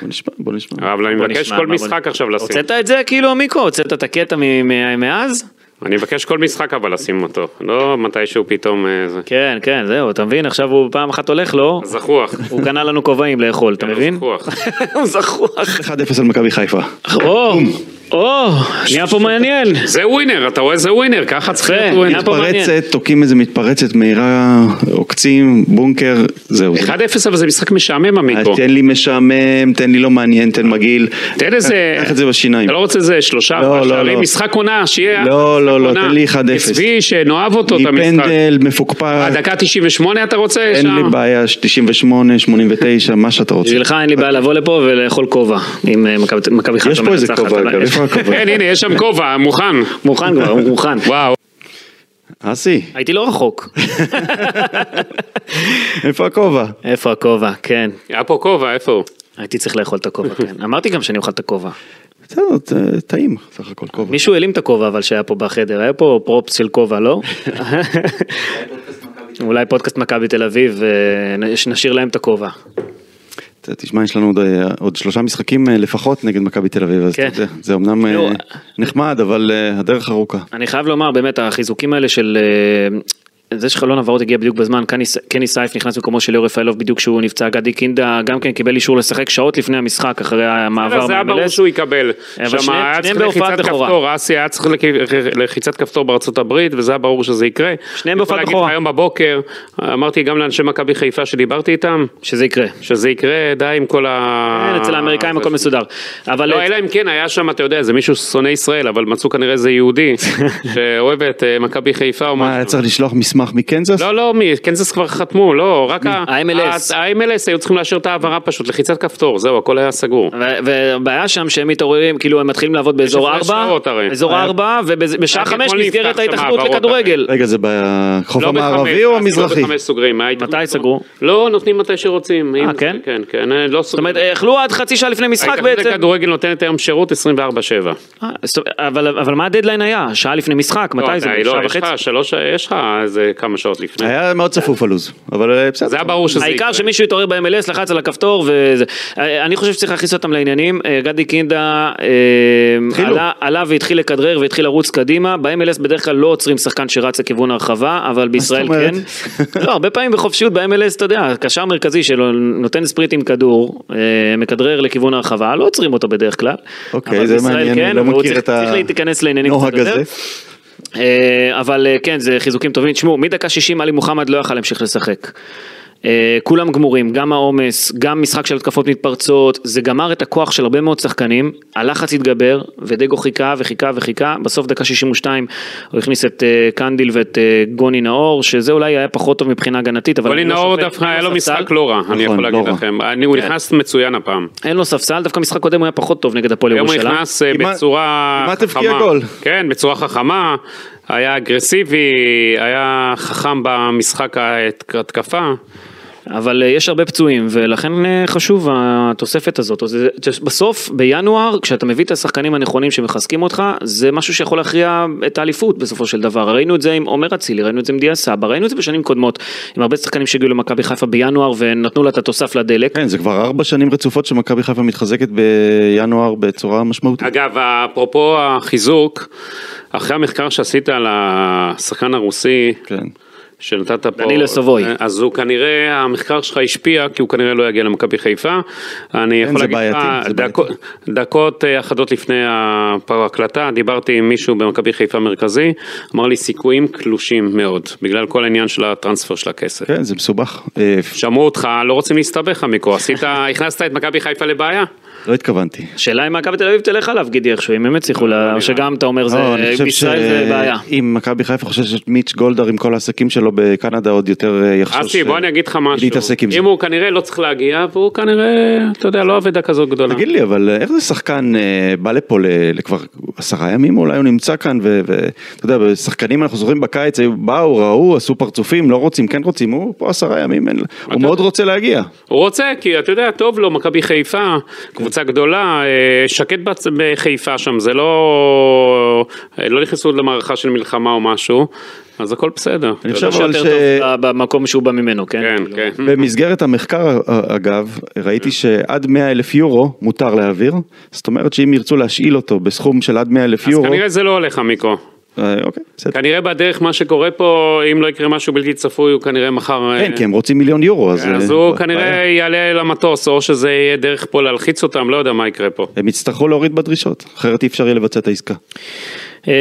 Speaker 3: בוא נשמע, בוא נשמע.
Speaker 4: אבל אני
Speaker 2: בוא
Speaker 4: מבקש
Speaker 2: נשמע,
Speaker 4: כל
Speaker 2: מה, בוא
Speaker 4: משחק
Speaker 2: נ-
Speaker 4: עכשיו לשים.
Speaker 2: הוצאת את זה כאילו עמיקו? הוצאת את הקטע מ- מ- מאז?
Speaker 4: אני מבקש כל משחק אבל לשים אותו, לא מתישהו פתאום אה, זה.
Speaker 2: כן, כן, זהו, אתה מבין? עכשיו הוא פעם אחת הולך לו,
Speaker 4: זחוח.
Speaker 2: הוא קנה לנו כובעים לאכול,
Speaker 4: כן,
Speaker 2: אתה מבין?
Speaker 4: זחוח.
Speaker 2: הוא זחוח.
Speaker 3: 1-0 על מכבי חיפה.
Speaker 2: או, או, נהיה פה מעניין.
Speaker 4: זה ווינר, אתה רואה זה ווינר, ככה צריך להיות
Speaker 2: יפה,
Speaker 4: ווינר.
Speaker 2: פה מעניין.
Speaker 3: מתפרצת, תוקעים איזה מתפרצת מהירה, עוקצים, בונקר, זהו.
Speaker 4: 1-0 אבל זה משחק משעמם
Speaker 3: אז
Speaker 4: עמיקו.
Speaker 3: תן לי משעמם, תן לי לא מעניין, תן מגעיל.
Speaker 4: תן איזה...
Speaker 3: קח את זה בשיניים.
Speaker 4: אתה לא רוצה איזה שלושה,
Speaker 3: לא,
Speaker 4: ארבעה
Speaker 3: לא,
Speaker 4: שערים,
Speaker 3: לא.
Speaker 4: משחק עונה, שיהיה...
Speaker 3: לא, לא, לא,
Speaker 4: עונה.
Speaker 3: תן לי 1-0.
Speaker 4: עזבי, שנאהב אותו, את המשחק. אה,
Speaker 3: מפנדל, מפוקפק,
Speaker 4: הדקה 98 אתה רוצה?
Speaker 3: אין
Speaker 4: שם?
Speaker 3: לי בעיה, ש- 98, 89, מה שאתה רוצה.
Speaker 2: בשבילך אין לי בעיה לבוא לפה ולאכול כובע, אם אה, מכבי- מכבי חיפה
Speaker 3: יש פה איזה
Speaker 2: מנצחת,
Speaker 3: כובע,
Speaker 2: אבל-
Speaker 3: אגב, איפה הכובע?
Speaker 4: כן, הנה, יש שם כובע, מוכן.
Speaker 2: מוכן כבר, הוא מוכן.
Speaker 4: וואו.
Speaker 3: אסי,
Speaker 2: הייתי לא רחוק.
Speaker 3: איפה הכובע?
Speaker 2: איפה הכובע, כן.
Speaker 4: היה פה כובע, איפה הוא?
Speaker 2: הייתי צריך לאכול את הכובע, כן. אמרתי גם שאני אוכל את הכובע.
Speaker 3: בסדר, ת- טעים, סך הכל כובע.
Speaker 2: מישהו העלים את הכובע אבל שהיה פה בחדר, היה פה פרופס של כובע, לא? אולי פודקאסט מכבי תל אביב, אה, שנשאיר להם את הכובע.
Speaker 3: ת- תשמע, יש לנו עוד, אה, עוד שלושה משחקים אה, לפחות נגד מכבי תל אביב, אז
Speaker 2: כן.
Speaker 3: אתה יודע, זה אמנם אה,
Speaker 4: לא.
Speaker 2: תראו,
Speaker 3: נחמד, אבל אה, הדרך ארוכה.
Speaker 2: אני חייב לומר, באמת, החיזוקים האלה של... אה, זה שחלון העברות הגיע בדיוק בזמן, קני ס- קני סייף נכנס במקומו של ליאור רפאלוב בדיוק כשהוא נפצע, גדי קינדה גם כן קיבל אישור לשחק שעות לפני המשחק, אחרי המעבר
Speaker 4: זה היה ברור
Speaker 2: מהמלס.
Speaker 4: שהוא יקבל.
Speaker 2: אבל
Speaker 4: שם
Speaker 2: שניהם-
Speaker 4: היה צריך
Speaker 2: שניהם בהופעת
Speaker 4: לחיצת
Speaker 2: בכורה.
Speaker 4: כפתור, אסי היה צריך לכ- לחיצת כפתור בארצות הברית, וזה היה ברור שזה יקרה.
Speaker 2: שניהם
Speaker 4: אני יכול
Speaker 2: בהופעת
Speaker 4: להגיד
Speaker 2: בכורה.
Speaker 4: לך היום בבוקר, אמרתי גם לאנשי מכבי חיפה שדיברתי איתם,
Speaker 2: שזה יקרה.
Speaker 4: שזה יקרה, די עם כל ה...
Speaker 2: כן, אצל האמריקאים הכל מסודר. אבל...
Speaker 4: לא, אלא אם כן היה שם, אתה יודע, זה מישהו שונא ישראל, אבל מצאו כנראה איזה יהודי שאוהב את אה, מכבי חיפה או
Speaker 3: מה, היה
Speaker 4: משהו.
Speaker 3: צריך לשלוח מסמך מקנזס?
Speaker 4: לא, לא, מי- קנזס כבר חתמו, לא, רק ה-
Speaker 2: ה-MLS.
Speaker 4: ה- ה-MLS היו צריכים לאשר את ההעברה פשוט, לחיצת כפתור, זהו, הכל היה סגור.
Speaker 2: ו- והבעיה שם שהם מתעוררים, כאילו הם מתחילים לעבוד באזור
Speaker 4: הפרש
Speaker 2: 4,
Speaker 4: שעות הרי.
Speaker 2: באזור 4, ובשעה
Speaker 4: רק
Speaker 2: 5
Speaker 4: אתמול נפתח
Speaker 2: נסגרת
Speaker 4: שם
Speaker 2: ההתאחדות
Speaker 4: העברות,
Speaker 2: לכדורגל.
Speaker 3: רגע, זה בחוף
Speaker 4: לא
Speaker 3: המערבי
Speaker 4: בחמש,
Speaker 3: או
Speaker 4: אז
Speaker 3: המזרחי?
Speaker 4: לא בחמש סוגרים. ההתאחדות-
Speaker 2: מתי סגרו?
Speaker 4: לא, נותנים מתי שרוצים. אם-
Speaker 2: כן?
Speaker 4: כן, כן, אה, לא
Speaker 2: זאת
Speaker 4: סוגרים.
Speaker 2: אומרת, אכלו עד חצי שעה לפני משחק
Speaker 4: ההתאחדות
Speaker 2: בעצם.
Speaker 4: לכדורגל נותנת היום שירות 24/7.
Speaker 2: אה, זאת אומרת, אבל אבל מה הדדליין היה? שעה לפני משחק,
Speaker 4: לא,
Speaker 2: מתי זה?
Speaker 4: די, לא,
Speaker 2: שעה
Speaker 4: יש
Speaker 2: וחצי?
Speaker 4: לך שלוש, יש לך איזה כמה שעות לפני.
Speaker 3: היה מאוד צפוף הלו"ז, אבל אה, בסדר.
Speaker 4: זה היה ברור שזה יקרה.
Speaker 2: העיקר שמישהו יתעורר ב-MLS, לחץ על הכפתור וזה. אה, אני חושב שצריך להכניס אותם לעניינים. אה, גדי קינדה אה,
Speaker 3: התחילו.
Speaker 2: עלה- עלה והתחיל לכדרר והתחיל לרוץ קדימה. ב-MLS בדרך כלל לא עוצרים שחקן שרץ לכיוון הרחבה, אבל בישראל
Speaker 3: זאת אומרת?
Speaker 2: כן. לא, הרבה פעמים בחופשיות ב-MLS, אתה יודע, קשר מרכזי שלו נותן ספריט עם כדור, אה, מכדרר לכיוון הרחבה, לא עוצרים אותו בדרך כלל.
Speaker 3: אוקיי,
Speaker 2: אבל
Speaker 3: זה
Speaker 2: בישראל כן,
Speaker 3: מעניין, אני לא
Speaker 2: והוא
Speaker 3: מכיר
Speaker 2: צריך-
Speaker 3: את ה-
Speaker 2: צריך להיכנס לעניינים קצת
Speaker 3: נוהג
Speaker 2: יותר.
Speaker 3: הזה.
Speaker 2: אה, אבל אה, כן, זה חיזוקים טובים. תשמעו, מדקה 60 עלי מוחמד לא יכל להמשיך לשחק. אה, כולם גמורים, גם העומס, גם משחק של התקפות מתפרצות, זה גמר את הכוח של הרבה מאוד שחקנים, הלחץ התגבר, ודגו חיכה וחיכה וחיכה, בסוף דקה 62 הוא הכניס את אה, קנדיל ואת אה, גוני נאור, שזה אולי היה פחות טוב מבחינה הגנתית, אבל...
Speaker 4: גולי
Speaker 2: אני לא
Speaker 4: נאור
Speaker 2: שופט,
Speaker 4: דווקא
Speaker 2: אין
Speaker 4: היה לו
Speaker 2: ספסל.
Speaker 4: משחק לא רע, אני יכול
Speaker 3: נכון,
Speaker 4: להגיד
Speaker 3: לא רע.
Speaker 4: לכם. אני-
Speaker 2: כן.
Speaker 4: הוא נכנס מצוין הפעם.
Speaker 2: אין לו ספסל, דווקא משחק קודם הוא היה פחות טוב נגד הפועל
Speaker 4: היום הוא
Speaker 2: ירושלים.
Speaker 4: נכנס אה,
Speaker 3: כמעט-
Speaker 4: בצורה
Speaker 3: כמעט הבקיע
Speaker 4: חכמה.
Speaker 3: גול.
Speaker 4: כן, בצורה חכמה, היה אגרסיבי, היה חכם במשחק ההתקפה.
Speaker 2: אבל אה, יש הרבה פצועים, ולכן אה, חשוב התוספת הזאת. אז זה- בסוף, בינואר, כשאתה מביא את השחקנים הנכונים שמחזקים אותך, זה משהו שיכול להכריע את האליפות בסופו של דבר. ראינו את זה עם עומר אצילי, ראינו את זה עם דיה סבא, ראינו את זה בשנים קודמות, עם הרבה שחקנים שהגיעו למכבי חיפה בינואר ונתנו לה את התוסף לדלק.
Speaker 3: כן, זה כבר ארבע שנים רצופות שמכבי חיפה מתחזקת בינואר בצורה משמעותית.
Speaker 4: אגב, אפרופו החיזוק, אחרי המחקר שעשית על השחקן הרוסי,
Speaker 3: כן.
Speaker 4: שנתת פה, אה,
Speaker 2: דנילו סבוי.
Speaker 4: אז הוא כנראה, המחקר שלך השפיע, כי הוא כנראה לא יגיע למכבי חיפה. אני יכול
Speaker 3: זה
Speaker 4: להגיד לך,
Speaker 3: בעייתי, זה
Speaker 4: דקות- דקות אה, אחדות לפני ההקלטה, דיברתי עם מישהו במכבי חיפה מרכזי, אמר לי סיכויים קלושים מאוד, בגלל כל העניין של הטרנספר של הכסף.
Speaker 3: כן, זה מסובך. אה,
Speaker 4: שמעו אותך, לא רוצים להסתבך עמיקו, עשית, הכנסת את מכבי חיפה לבעיה?
Speaker 3: לא התכוונתי.
Speaker 2: השאלה אם מכבי תל אביב תלך עליו גידי איכשהו, אם הם יצליחו, לה- שגם אתה אומר, זה-
Speaker 4: אה,
Speaker 3: לא, אני חושב
Speaker 2: בישראל זה בעיה.
Speaker 3: אם מכבי חיפה חושבת שמיץ' גולדהר עם כל העסקים שלו בקנדה עוד יותר אה, יחשוש.
Speaker 4: אסי,
Speaker 3: אה,
Speaker 4: בוא אני אגיד לך משהו.
Speaker 3: להתעסק עם זה.
Speaker 4: אם הוא כנראה לא צריך להגיע, והוא כנראה, אתה יודע, לא אבדה כזאת גדולה.
Speaker 3: תגיד לי, אבל איך זה שחקן אה, בא לפה ל- לכבר עשרה ימים אולי הוא נמצא כאן, ואתה יודע, שחקנים אנחנו זוכרים בקיץ, היו- באו, ראו, עשו פרצופים, לא רוצים, כן רוצים, הוא פה עשרה ימים, אין- הוא מאוד רוצה להגיע.
Speaker 4: הוא רוצה, כי אתה יודע, טוב לו, מכבי חיפה, קבוצה גדולה, אה, שקט בצ- בחיפה שם, זה לא... אה, לא נכנסו עוד למערכה של מלחמה או משהו, אז הכל בסדר.
Speaker 3: אני
Speaker 2: זה
Speaker 3: חושב אבל
Speaker 2: שיותר
Speaker 3: ש...
Speaker 2: טוב ב- במקום שהוא בא ממנו, כן?
Speaker 4: כן, כן.
Speaker 3: במסגרת המחקר אה, אגב, ראיתי
Speaker 4: Mm-hmm.
Speaker 3: שעד 100 אלף יורו מותר להעביר, זאת אומרת שאם ירצו להשאיל אותו בסכום של עד 100 אלף
Speaker 4: אז
Speaker 3: יורו,
Speaker 4: כנראה זה לא הולך, המיקרו.
Speaker 3: אה, אוקיי, בסדר.
Speaker 4: כנראה בדרך מה שקורה פה, אם לא יקרה משהו בלתי צפוי, הוא כנראה מחר... אה,
Speaker 3: כן, כי הם רוצים מיליון יורו, אז...
Speaker 4: כן, אז
Speaker 3: אה,
Speaker 4: הוא
Speaker 3: בעיה.
Speaker 4: כנראה יעלה למטוס, או שזה יהיה דרך פה להלחיץ אותם, לא יודע מה יקרה פה.
Speaker 3: הם יצטרכו להוריד בדרישות, אחרת אי אפשר יהיה לבצע את העסקה.
Speaker 2: אה,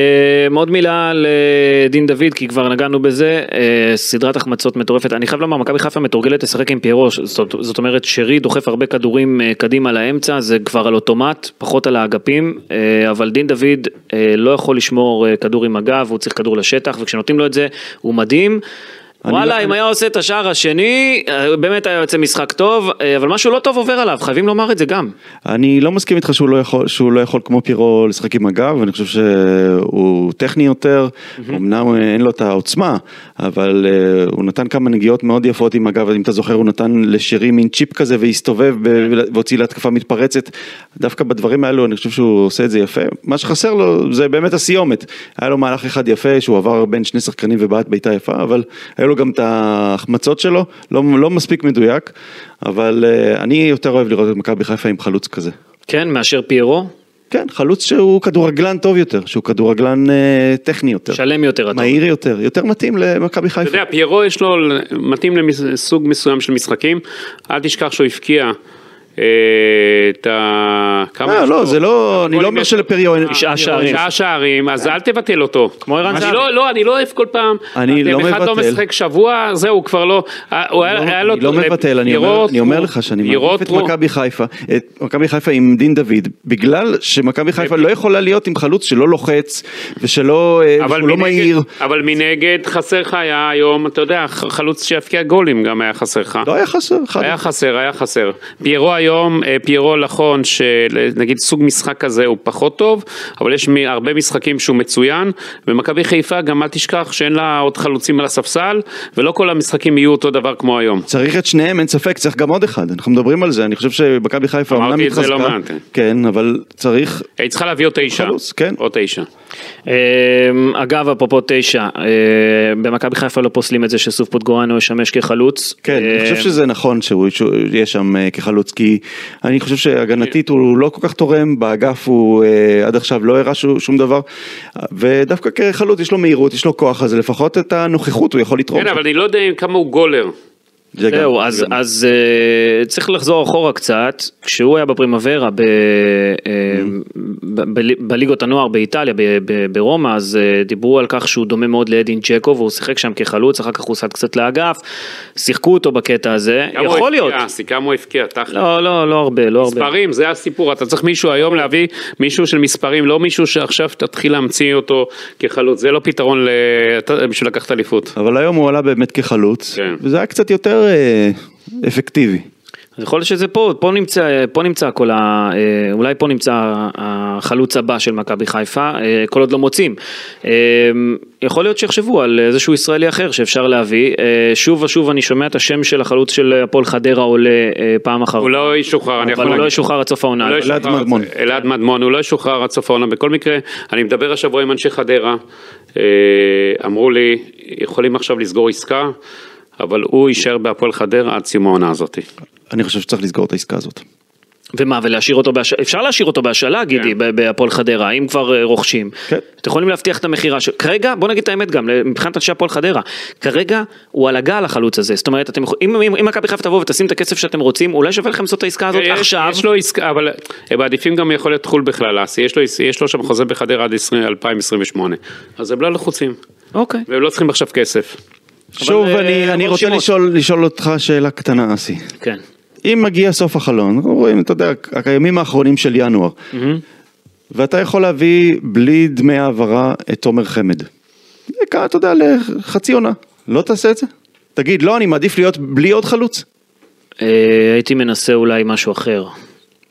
Speaker 2: עוד מילה על אה, דין דוד, כי כבר נגענו בזה, אה, סדרת החמצות מטורפת. אני חייב לומר, מכבי חיפה מתורגלת לשחק עם פיירו, זאת, זאת אומרת שרי דוחף הרבה כדורים אה, קדימה לאמצע, זה כבר על אוטומט, פחות על האגפים, אה, אבל דין דוד אה, לא יכול לשמור אה, כדור עם הגב, הוא צריך כדור לשטח, וכשנותנים לו את זה, הוא מדהים.
Speaker 3: אני
Speaker 2: וואלה,
Speaker 3: לא-
Speaker 2: אם היה עושה את השער השני, אה, באמת היה יוצא משחק טוב, אה, אבל משהו לא טוב עובר עליו, חייבים לומר את זה גם.
Speaker 3: אני לא מסכים איתך שהוא לא יכול, שהוא לא יכול כמו פירו לשחק עם הגב, אני חושב שהוא טכני יותר, אמנם אין לו את העוצמה, אבל אה, הוא נתן כמה נגיעות מאוד יפות עם הגב, אם אתה זוכר הוא נתן לשירי מין צ'יפ כזה והסתובב ב-
Speaker 4: כן.
Speaker 3: והוציא להתקפה מתפרצת, דווקא בדברים האלו אני חושב שהוא עושה את זה יפה, מה שחסר לו זה באמת הסיומת, היה לו מהלך אחד יפה שהוא עבר בין שני שחקנים ובעט בעיטה יפה, אבל היו לו גם את ההחמצות שלו, לא, לא מספיק מדויק, אבל אה, אני יותר אוהב לראות את מכבי חיפה עם חלוץ כזה.
Speaker 2: כן, מאשר פיירו,
Speaker 3: כן, חלוץ שהוא כדורגלן טוב יותר, שהוא כדורגלן אה, טכני יותר.
Speaker 2: שלם יותר. אתה אומר.
Speaker 3: מהיר יותר, יותר מתאים למכבי חיפה.
Speaker 4: אתה יודע, פיירו יש לו, מתאים לסוג מסוים של משחקים, אל תשכח שהוא הפקיע אה, את ה... כמה
Speaker 3: אה,
Speaker 4: יש
Speaker 3: לא,
Speaker 4: לו?
Speaker 3: זה לא, אני לא
Speaker 4: גולים
Speaker 3: אומר
Speaker 4: יש אה,
Speaker 3: שלפריו אין...
Speaker 2: תשעה שערים.
Speaker 4: תשעה שערים, אז אל תבטל אותו.
Speaker 2: כמו ערן
Speaker 4: אני
Speaker 2: זהבי.
Speaker 4: לא, לא, אני לא אוהב כל פעם.
Speaker 3: אני
Speaker 4: אתם
Speaker 3: לא
Speaker 4: אחד לא
Speaker 3: מבטל.
Speaker 4: משחק שבוע, זהו, הוא כבר לא... אה, הוא היה-
Speaker 3: לא,
Speaker 4: היה לו...
Speaker 3: אני לא מבטל, אני אומר-
Speaker 4: יראות,
Speaker 3: אני אומר
Speaker 4: הוא-
Speaker 3: לך שאני
Speaker 4: יראות
Speaker 3: מעדיף את
Speaker 4: הוא-
Speaker 3: מכבי חיפה, את מכבי חיפה עם דין דוד, בגלל
Speaker 4: אה,
Speaker 3: שמכבי חיפה לא יכולה להיות עם חלוץ שלא לוחץ, ושלא, אה,
Speaker 4: אבל
Speaker 3: שהוא לא
Speaker 4: מנגד-
Speaker 3: מהיר.
Speaker 4: אבל מנגד חסר לך היה היום, אתה יודע, ח- חלוץ שיבקיע גולים גם היה חסר לך.
Speaker 3: לא היה חסר, חד-
Speaker 4: היה חסר, היה חסר. פיירו היום, אה, פיירו נכון, שנגיד סוג משחק כזה הוא פחות טוב, אבל יש מ- הרבה משחקים שהוא מצוין, ומכבי חיפה גם אל תשכח שאין לה עוד חלוצים על הספסל, ולא כל המשחקים יהיו אותו דבר כמו היום.
Speaker 3: צריך את שניהם, אין ספק, צריך גם עוד אחד, אנחנו מדברים על זה, אני חושב שמכבי חיפה
Speaker 4: אמרתי
Speaker 3: אמנם
Speaker 4: את זה
Speaker 3: התחזקה,
Speaker 4: לא מעט.
Speaker 3: כן, אבל צריך,
Speaker 4: היא צריכה להביא עוד תשע.
Speaker 3: חלוץ, כן.
Speaker 4: עוד תשע.
Speaker 2: אמ, אגב, אפרופו תשע, אה, במכבי חיפה לא פוסלים את זה שסוף פוטגורנו ישמש כחלוץ.
Speaker 3: כן, אני
Speaker 2: אה,
Speaker 3: חושב שזה נכון שהוא שהוא יהיה שם אה, כחלוץ, כי אני חושב שהגנתית הוא לא כל כך תורם, באגף הוא אה, עד עכשיו לא הראה שום שום דבר, ודווקא כחלוץ יש לו מהירות, יש לו כוח, אז לפחות את הנוכחות הוא יכול לתרום.
Speaker 4: כן, אבל אני לא יודע כמה הוא גולר.
Speaker 3: זה גם-
Speaker 2: זהו, אז,
Speaker 3: גם-
Speaker 2: אז אה, צריך לחזור אחורה קצת, כשהוא היה בפרימוורה ב, אה,
Speaker 3: Mm-hmm.
Speaker 2: ב, ב, בליגות הנוער באיטליה, ב, ב, ברומא, אז אה, דיברו על כך שהוא דומה מאוד לאדין ג'קו, והוא שיחק שם כחלוץ, אחר כך הוא סד קצת לאגף, שיחקו אותו בקטע הזה,
Speaker 4: כמה הוא
Speaker 2: יכול להיות.
Speaker 4: הבקיע, אסי, כמה הוא הבקיע, תכל'ס.
Speaker 2: לא, לא, לא הרבה, לא הרבה.
Speaker 4: מספרים, זה הסיפור, אתה צריך מישהו היום להביא מישהו של מספרים, לא מישהו שעכשיו תתחיל להמציא אותו כחלוץ, זה לא פתרון ל... אתה- בשביל לקחת אליפות.
Speaker 3: אבל היום הוא עלה באמת כחלוץ,
Speaker 4: כן.
Speaker 3: וזה היה קצת יותר אה, אפקטיבי.
Speaker 2: אז יכול להיות שזה פה, פה נמצא, פה נמצא כל ה... אה, אולי פה נמצא החלוץ הבא של מכבי חיפה, אה, כל עוד לא מוצאים. אה, יכול להיות שיחשבו על איזשהו ישראלי אחר שאפשר להביא. אה, שוב ושוב אני שומע את השם של החלוץ של הפועל חדרה עולה אה, פעם אחר
Speaker 4: הוא לא ישוחרר, אני יכול
Speaker 2: אבל הוא
Speaker 4: להגיד.
Speaker 2: לא ישוחרר עד סוף העונה.
Speaker 4: הוא לא
Speaker 2: אבל-
Speaker 4: ישוחרר
Speaker 3: אלעד מדמון.
Speaker 4: עד- אלעד מדמון, הוא לא ישוחרר עד סוף העונה. בכל מקרה, אני מדבר השבוע עם אנשי חדרה, אה, אמרו לי, יכולים עכשיו לסגור עסקה, אבל הוא יישאר בהפועל חדרה עד סיום העונה הזאת.
Speaker 3: אני חושב שצריך לסגור את העסקה הזאת.
Speaker 2: ומה, ולהשאיר אותו בהשאלה? אפשר להשאיר אותו בהשאלה,
Speaker 4: כן.
Speaker 2: גידי, ב- בהפועל חדרה, אם כבר אה, רוכשים.
Speaker 3: כן.
Speaker 2: אתם יכולים להבטיח את המכירה שלו. כרגע, בוא נגיד את האמת גם, מבחינת אנשי הפועל חדרה, כרגע הוא על הגל החלוץ הזה. זאת אומרת, אתם יכול- אם- אם אם מכבי חיפה תבוא ותשים את הכסף שאתם רוצים, אולי שווה לכם לעשות את העסקה הזאת
Speaker 4: יש-
Speaker 2: עכשיו.
Speaker 4: יש לו עסקה, אבל הם מעדיפים גם יכול להיות חו"ל בכלל, אסי. יש לו- יש לו שם חוזה בחדרה עד 20- 2028. אז הם לא לחוצים,
Speaker 2: אוקיי.
Speaker 4: והם לא צריכים עכשיו כסף.
Speaker 3: שוב,
Speaker 2: אה,
Speaker 3: אני- אני
Speaker 2: אבל
Speaker 3: רוצה
Speaker 2: שמות.
Speaker 3: לשאול- לשאול אותך שאלה קטנה, אסי.
Speaker 2: כן.
Speaker 3: אם מגיע סוף החלון, אנחנו רואים, אתה יודע, ה- הימים האחרונים של ינואר, ואתה יכול להביא בלי דמי העברה את תומר חמד. זה כ- אתה יודע, לחצי עונה. לא תעשה את זה? תגיד, לא, אני מעדיף להיות בלי עוד חלוץ.
Speaker 2: אה, הייתי מנסה אולי משהו אחר.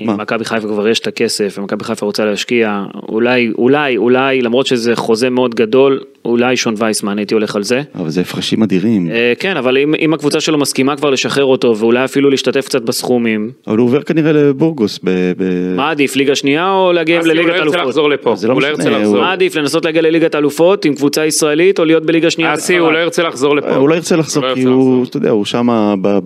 Speaker 3: מה?
Speaker 2: אם מכבי חיפה כבר יש את הכסף, ומכבי חיפה רוצה להשקיע, אולי, אולי, אולי, למרות שזה חוזה מאוד גדול, אולי שון וייסמן, הייתי הולך על זה.
Speaker 3: אבל זה הפרשים אדירים.
Speaker 2: אה, כן, אבל אם, אם הקבוצה שלו מסכימה כבר לשחרר אותו, ואולי אפילו להשתתף קצת בסכומים,
Speaker 3: אבל הוא עובר כנראה לבורגוס. ב- ב-
Speaker 2: מה עדיף, ליגה שנייה או להגיע
Speaker 4: אז הוא לא
Speaker 2: לליגת
Speaker 4: ירצה
Speaker 2: אלופות?
Speaker 4: לחזור לפה,
Speaker 3: זה לא
Speaker 4: הוא לא
Speaker 3: משנה,
Speaker 4: ירצה
Speaker 3: הוא-
Speaker 4: לחזור.
Speaker 2: מה עדיף, לנסות להגיע לליגת אלופות עם קבוצה ישראלית, או להיות בליגה שנייה?
Speaker 4: אסי, הוא לא
Speaker 2: בספרד?
Speaker 4: ירצה לחזור לפה.
Speaker 3: הוא לא ירצה לחזור,
Speaker 4: הוא לא
Speaker 3: כי
Speaker 4: ירצה
Speaker 3: הוא,
Speaker 4: לחזור.
Speaker 3: אתה יודע, הוא שם,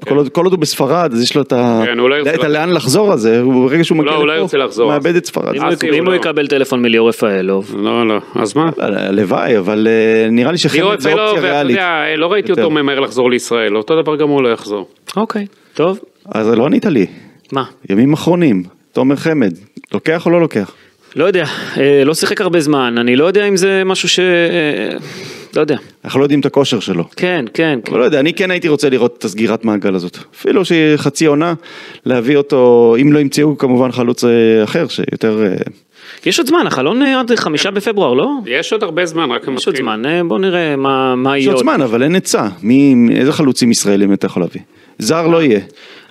Speaker 3: כל עוד- כל עוד הוא בספרד, אז יש לו את ה...
Speaker 4: כן, הוא לא ירצה
Speaker 3: את
Speaker 4: לחזור.
Speaker 3: הלאן לחזור הזה, הוא- ברגע שהוא
Speaker 4: הוא לא-
Speaker 3: מגיע
Speaker 4: הוא לא
Speaker 3: לפה,
Speaker 4: ירצה
Speaker 3: הוא
Speaker 4: לחזור.
Speaker 3: מאבד את ספרד.
Speaker 2: אם הוא-
Speaker 4: אסי, הוא
Speaker 2: אם הוא
Speaker 4: לא.
Speaker 2: יקבל טלפון מליאור רפאלוב,
Speaker 4: לא, לא, אז מה?
Speaker 3: הלוואי, אבל אה, נראה לי
Speaker 4: ליאור
Speaker 3: שחמד זו
Speaker 4: אפלו,
Speaker 3: אופציה
Speaker 4: ואתה
Speaker 3: ריאלית.
Speaker 4: יודע, לא ראיתי
Speaker 3: יותר.
Speaker 4: אותו ממהר לחזור לישראל, אותו דבר גם הוא לא יחזור.
Speaker 2: אוקיי, טוב,
Speaker 3: אז לא ענית לי,
Speaker 2: מה?
Speaker 3: ימים אחרונים, תומר חמד, לוקח או לא לוקח?
Speaker 2: לא יודע, אה, לא שיחק הרבה זמן, אני לא יודע אם זה משהו ש... אה, לא יודע.
Speaker 3: אנחנו לא יודעים את הכושר שלו.
Speaker 2: כן, כן, כן.
Speaker 3: אבל לא יודע, אני כן הייתי רוצה לראות את הסגירת מעגל הזאת. אפילו שהיא חצי עונה, להביא אותו, אם לא ימצאו כמובן חלוץ אה, אחר, שיותר... אה,
Speaker 2: יש עוד זמן, החלון אה, עד חמישה בפברואר, לא?
Speaker 4: יש עוד הרבה זמן, רק הם
Speaker 2: יש עוד
Speaker 4: מתחילים.
Speaker 2: זמן, אה, בוא נראה מה מה
Speaker 3: יש
Speaker 2: יהיה
Speaker 3: עוד
Speaker 2: עוד.
Speaker 3: זמן, אבל אין עצה. מי, איזה חלוצים ישראלים אתה יכול להביא? זר לא יהיה.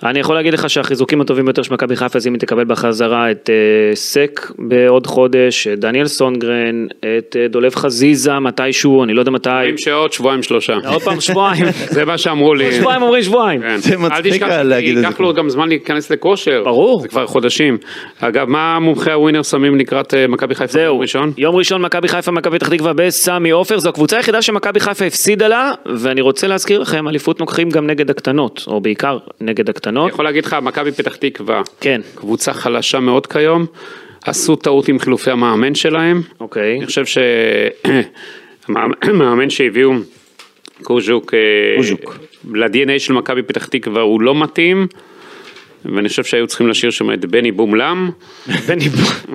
Speaker 2: אני יכול להגיד לך שהחיזוקים הטובים ביותר של מכבי חיפה זה אם היא תקבל בחזרה את אה, סק בעוד חודש, את דניאל סונגרן, את אה, דולב חזיזה מתישהו, אני לא יודע מתי. אה,
Speaker 4: אומרים שעוד שבועיים שלושה.
Speaker 2: עוד פעם שבועיים.
Speaker 4: זה מה שאמרו לי.
Speaker 2: שבועיים אומרים שבועיים.
Speaker 4: כן.
Speaker 3: זה מצחיק
Speaker 4: אל תשכח,
Speaker 3: היה להגיד את זה.
Speaker 4: ייקח לו גם זמן להיכנס לכושר.
Speaker 2: ברור.
Speaker 4: זה כבר חודשים. אגב, מה מומחי הווינר שמים לקראת אה, מכבי חיפה
Speaker 2: זהו,
Speaker 4: ביום ראשון?
Speaker 2: יום ראשון מכבי חיפה, מכבי פתח תקווה בסמי עופר, זו הקבוצה היחידה שמכבי חיפה הפסידה לה, ואני רוצה להזכיר לכם, אליפות לוקחים גם נגד הקטנות, או בעיקר נגד
Speaker 4: אני
Speaker 2: הקטנות.
Speaker 4: יכול להגיד לך, מכבי פתח תקווה,
Speaker 2: כן,
Speaker 4: קבוצה חלשה מאוד כיום, עשו טעות עם חילופי המאמן שלהם.
Speaker 2: אוקיי.
Speaker 4: אני חושב שהמאמן שהביאו, קוז'וק, אה,
Speaker 3: קוז'וק.
Speaker 4: ל-DNA של מכבי פתח תקווה הוא לא מתאים. ואני חושב שהיו צריכים להשאיר שם את בני בומלם.
Speaker 2: בני-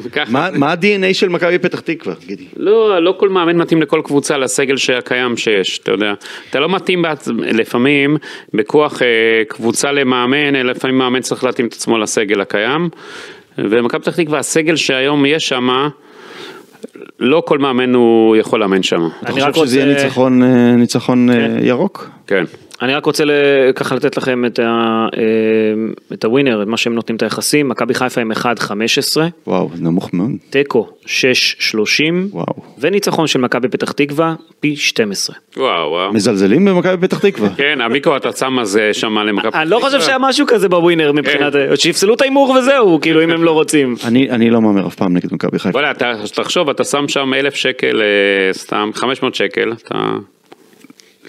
Speaker 4: וככה-
Speaker 3: מה מה ה-DNA של מכבי פתח תקווה, גידי?
Speaker 4: לא, לא כל מאמן מתאים לכל קבוצה, לסגל שהקיים שיש, אתה יודע. אתה לא מתאים בעצ... לפעמים בכוח אה, קבוצה למאמן, אלא לפעמים מאמן צריך להתאים את עצמו לסגל הקיים. ומכבי פתח תקווה, הסגל שהיום יש שם, לא כל מאמן הוא יכול לאמן שם.
Speaker 3: אתה
Speaker 2: אני רק
Speaker 3: חושב שזה יהיה
Speaker 2: רוצה-
Speaker 3: ניצחון, אה, ניצחון אה, ירוק?
Speaker 4: כן.
Speaker 2: אני רק רוצה ל- ככה לתת לכם את ה- אה, את הווינר, את מה שהם נותנים את היחסים, מכבי חיפה עם 1-15,
Speaker 3: וואו, זה נמוך מאוד.
Speaker 2: תיקו 6-30,
Speaker 3: וואו.
Speaker 2: וניצחון של מכבי פתח תקווה פי 12.
Speaker 4: וואו, וואו.
Speaker 3: מזלזלים במכבי פתח תקווה.
Speaker 4: כן, המיקרו התצ"ם הזה שם למכבי
Speaker 2: אני לא חושב שהיה משהו כזה בווינר מבחינת, שיפסלו את ההימור וזהו, כאילו אם הם לא רוצים.
Speaker 3: אני אני לא מהמר אף פעם נגד מכבי חיפה.
Speaker 4: וואלה, אתה, תחשוב, אתה שם שם אלף שקל, אה, סתם, 500 שקל, אתה...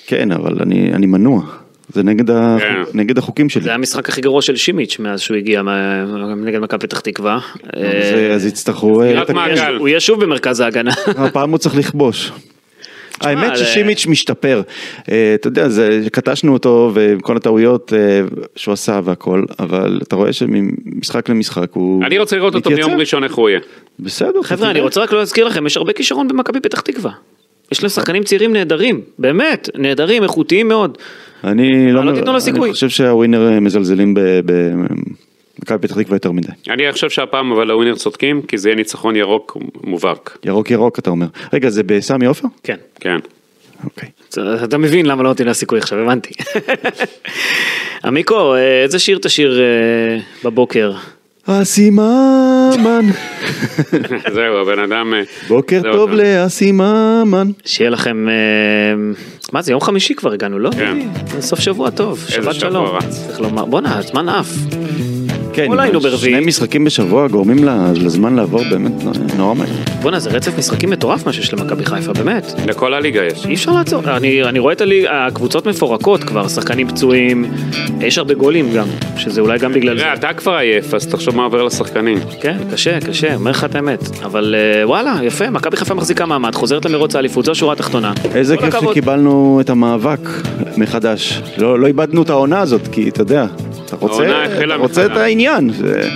Speaker 3: כן, אבל אני אני מנוע. זה נגד ה-
Speaker 4: כן.
Speaker 3: נגד החוקים שלי.
Speaker 2: זה המשחק הכי גרוע של שימיץ' מאז שהוא הגיע מה- נגד מכבי פתח תקווה.
Speaker 3: אז,
Speaker 2: אה,
Speaker 3: אה, אז יצטרכו... אה,
Speaker 4: סגירת
Speaker 3: לתקן.
Speaker 4: מעגל.
Speaker 2: הוא יהיה שוב במרכז ההגנה.
Speaker 3: הפעם הוא צריך לכבוש. האמת
Speaker 2: זה-
Speaker 3: ששימיץ' משתפר, אה, אתה יודע, זה, קטשנו אותו ועם כל הטעויות אה, שהוא עשה והכל, אבל אתה רואה שממשחק למשחק הוא
Speaker 4: אני רוצה לראות אותו
Speaker 3: מתייצב.
Speaker 4: ביום ראשון איך הוא יהיה.
Speaker 3: בסדר,
Speaker 2: חבר'ה, אני רוצה רק לא להזכיר לכם, יש הרבה כישרון במכבי פתח תקווה. יש להם שחקנים צעירים נהדרים, באמת, נהדרים, איכותיים מאוד.
Speaker 3: אני לא,
Speaker 2: לא
Speaker 3: מ-
Speaker 2: תיתנו לו סיכוי.
Speaker 3: אני חושב שהווינר אה, מזלזלים במכבי פתח תקווה יותר מדי.
Speaker 4: אני חושב שהפעם אבל הווינר צודקים, כי זה יהיה ניצחון ירוק מובהק.
Speaker 3: ירוק ירוק אתה אומר. רגע, זה בסמי עופר?
Speaker 2: כן.
Speaker 4: כן.
Speaker 3: אוקיי.
Speaker 2: אתה- אתה מבין למה לא נותנים לה סיכוי עכשיו, הבנתי. עמיקו, אה, איזה שיר תשיר אה, בבוקר?
Speaker 3: אסיממן,
Speaker 4: זהו, הבן אדם... אה,
Speaker 3: בוקר
Speaker 4: זהו,
Speaker 3: טוב
Speaker 4: אתה-
Speaker 3: לאסיממן.
Speaker 2: שיהיה לכם, אה, מה זה, יום חמישי כבר הגענו, לא?
Speaker 4: כן.
Speaker 2: זה סוף שבוע טוב, שבת
Speaker 4: שבוע
Speaker 2: שלום.
Speaker 4: רץ.
Speaker 2: צריך לומר, בואנה, הזמן עף.
Speaker 3: כן,
Speaker 2: אולי היינו ברביעי.
Speaker 3: שני משחקים בשבוע גורמים ל- לזמן לעבור באמת אה, נורא מהר.
Speaker 2: בואנה, זה רצף משחקים מטורף מה שיש למכבי חיפה, באמת.
Speaker 4: לכל הליגה יש.
Speaker 2: אי אפשר לעצור. אני, אני רואה את הליג, הקבוצות מפורקות כבר, שחקנים פצועים, יש הרבה גולים גם, שזה אולי גם בגלל זה.
Speaker 4: תראה, אתה כבר עייף, אז תחשוב מה עובר לשחקנים.
Speaker 2: כן, קשה, קשה, אומר לך את האמת. אבל אה, וואלה, יפה, מכבי חיפה מחזיקה מעמד, חוזרת למרוץ האליפות, זו השורה התחתונה.
Speaker 3: איזה
Speaker 2: כל
Speaker 3: כיף
Speaker 2: הכבוד.
Speaker 3: שקיבלנו את המאבק מחדש. לא, לא איבדנו את העונה הזאת, כי אתה יודע, אתה רוצה,
Speaker 4: העונה החלה
Speaker 3: אתה רוצה את
Speaker 4: מחדש.
Speaker 3: העניין. זה-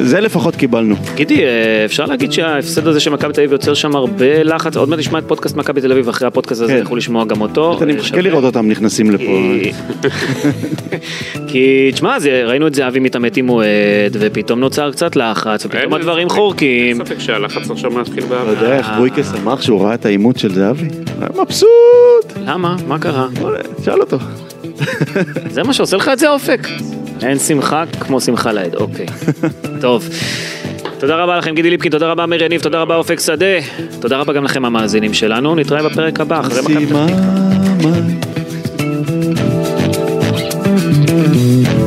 Speaker 3: זה לפחות קיבלנו.
Speaker 2: גידי, אה, אפשר להגיד שההפסד הזה שמכבי תל אביב יוצר שם הרבה לחץ, עוד מעט נשמע את פודקאסט מכבי תל אביב, אחרי הפודקאסט הזה
Speaker 3: כן.
Speaker 2: תלכו לשמוע גם אותו.
Speaker 3: אני
Speaker 2: אה,
Speaker 3: מחכה
Speaker 2: שווה.
Speaker 3: לראות אותם נכנסים לפה.
Speaker 2: כי- כי תשמע, זה- ראינו את זהבי מתעמת עם אוהד, ופתאום נוצר קצת לחץ, ופתאום הדברים
Speaker 4: אין
Speaker 2: חורקים.
Speaker 4: ספק שהלחץ עכשיו מתחיל
Speaker 3: אתה
Speaker 4: בעבר.
Speaker 3: יודע איך בויקה שמח שהוא ראה את העימות של זהבי? הוא היה מבסוט!
Speaker 2: למה? מה קרה?
Speaker 3: שאל אותו.
Speaker 2: זה מה שעושה לך את זה האופק. אין שמחה כמו שמחה לעד, אוקיי. טוב. תודה רבה לכם גידי ליפקין, תודה רבה מירי יניב, תודה רבה אופק שדה. תודה רבה גם לכם המאזינים שלנו, נתראה בפרק הבא, אחרי מכבי תל אביב.
Speaker 3: סימן.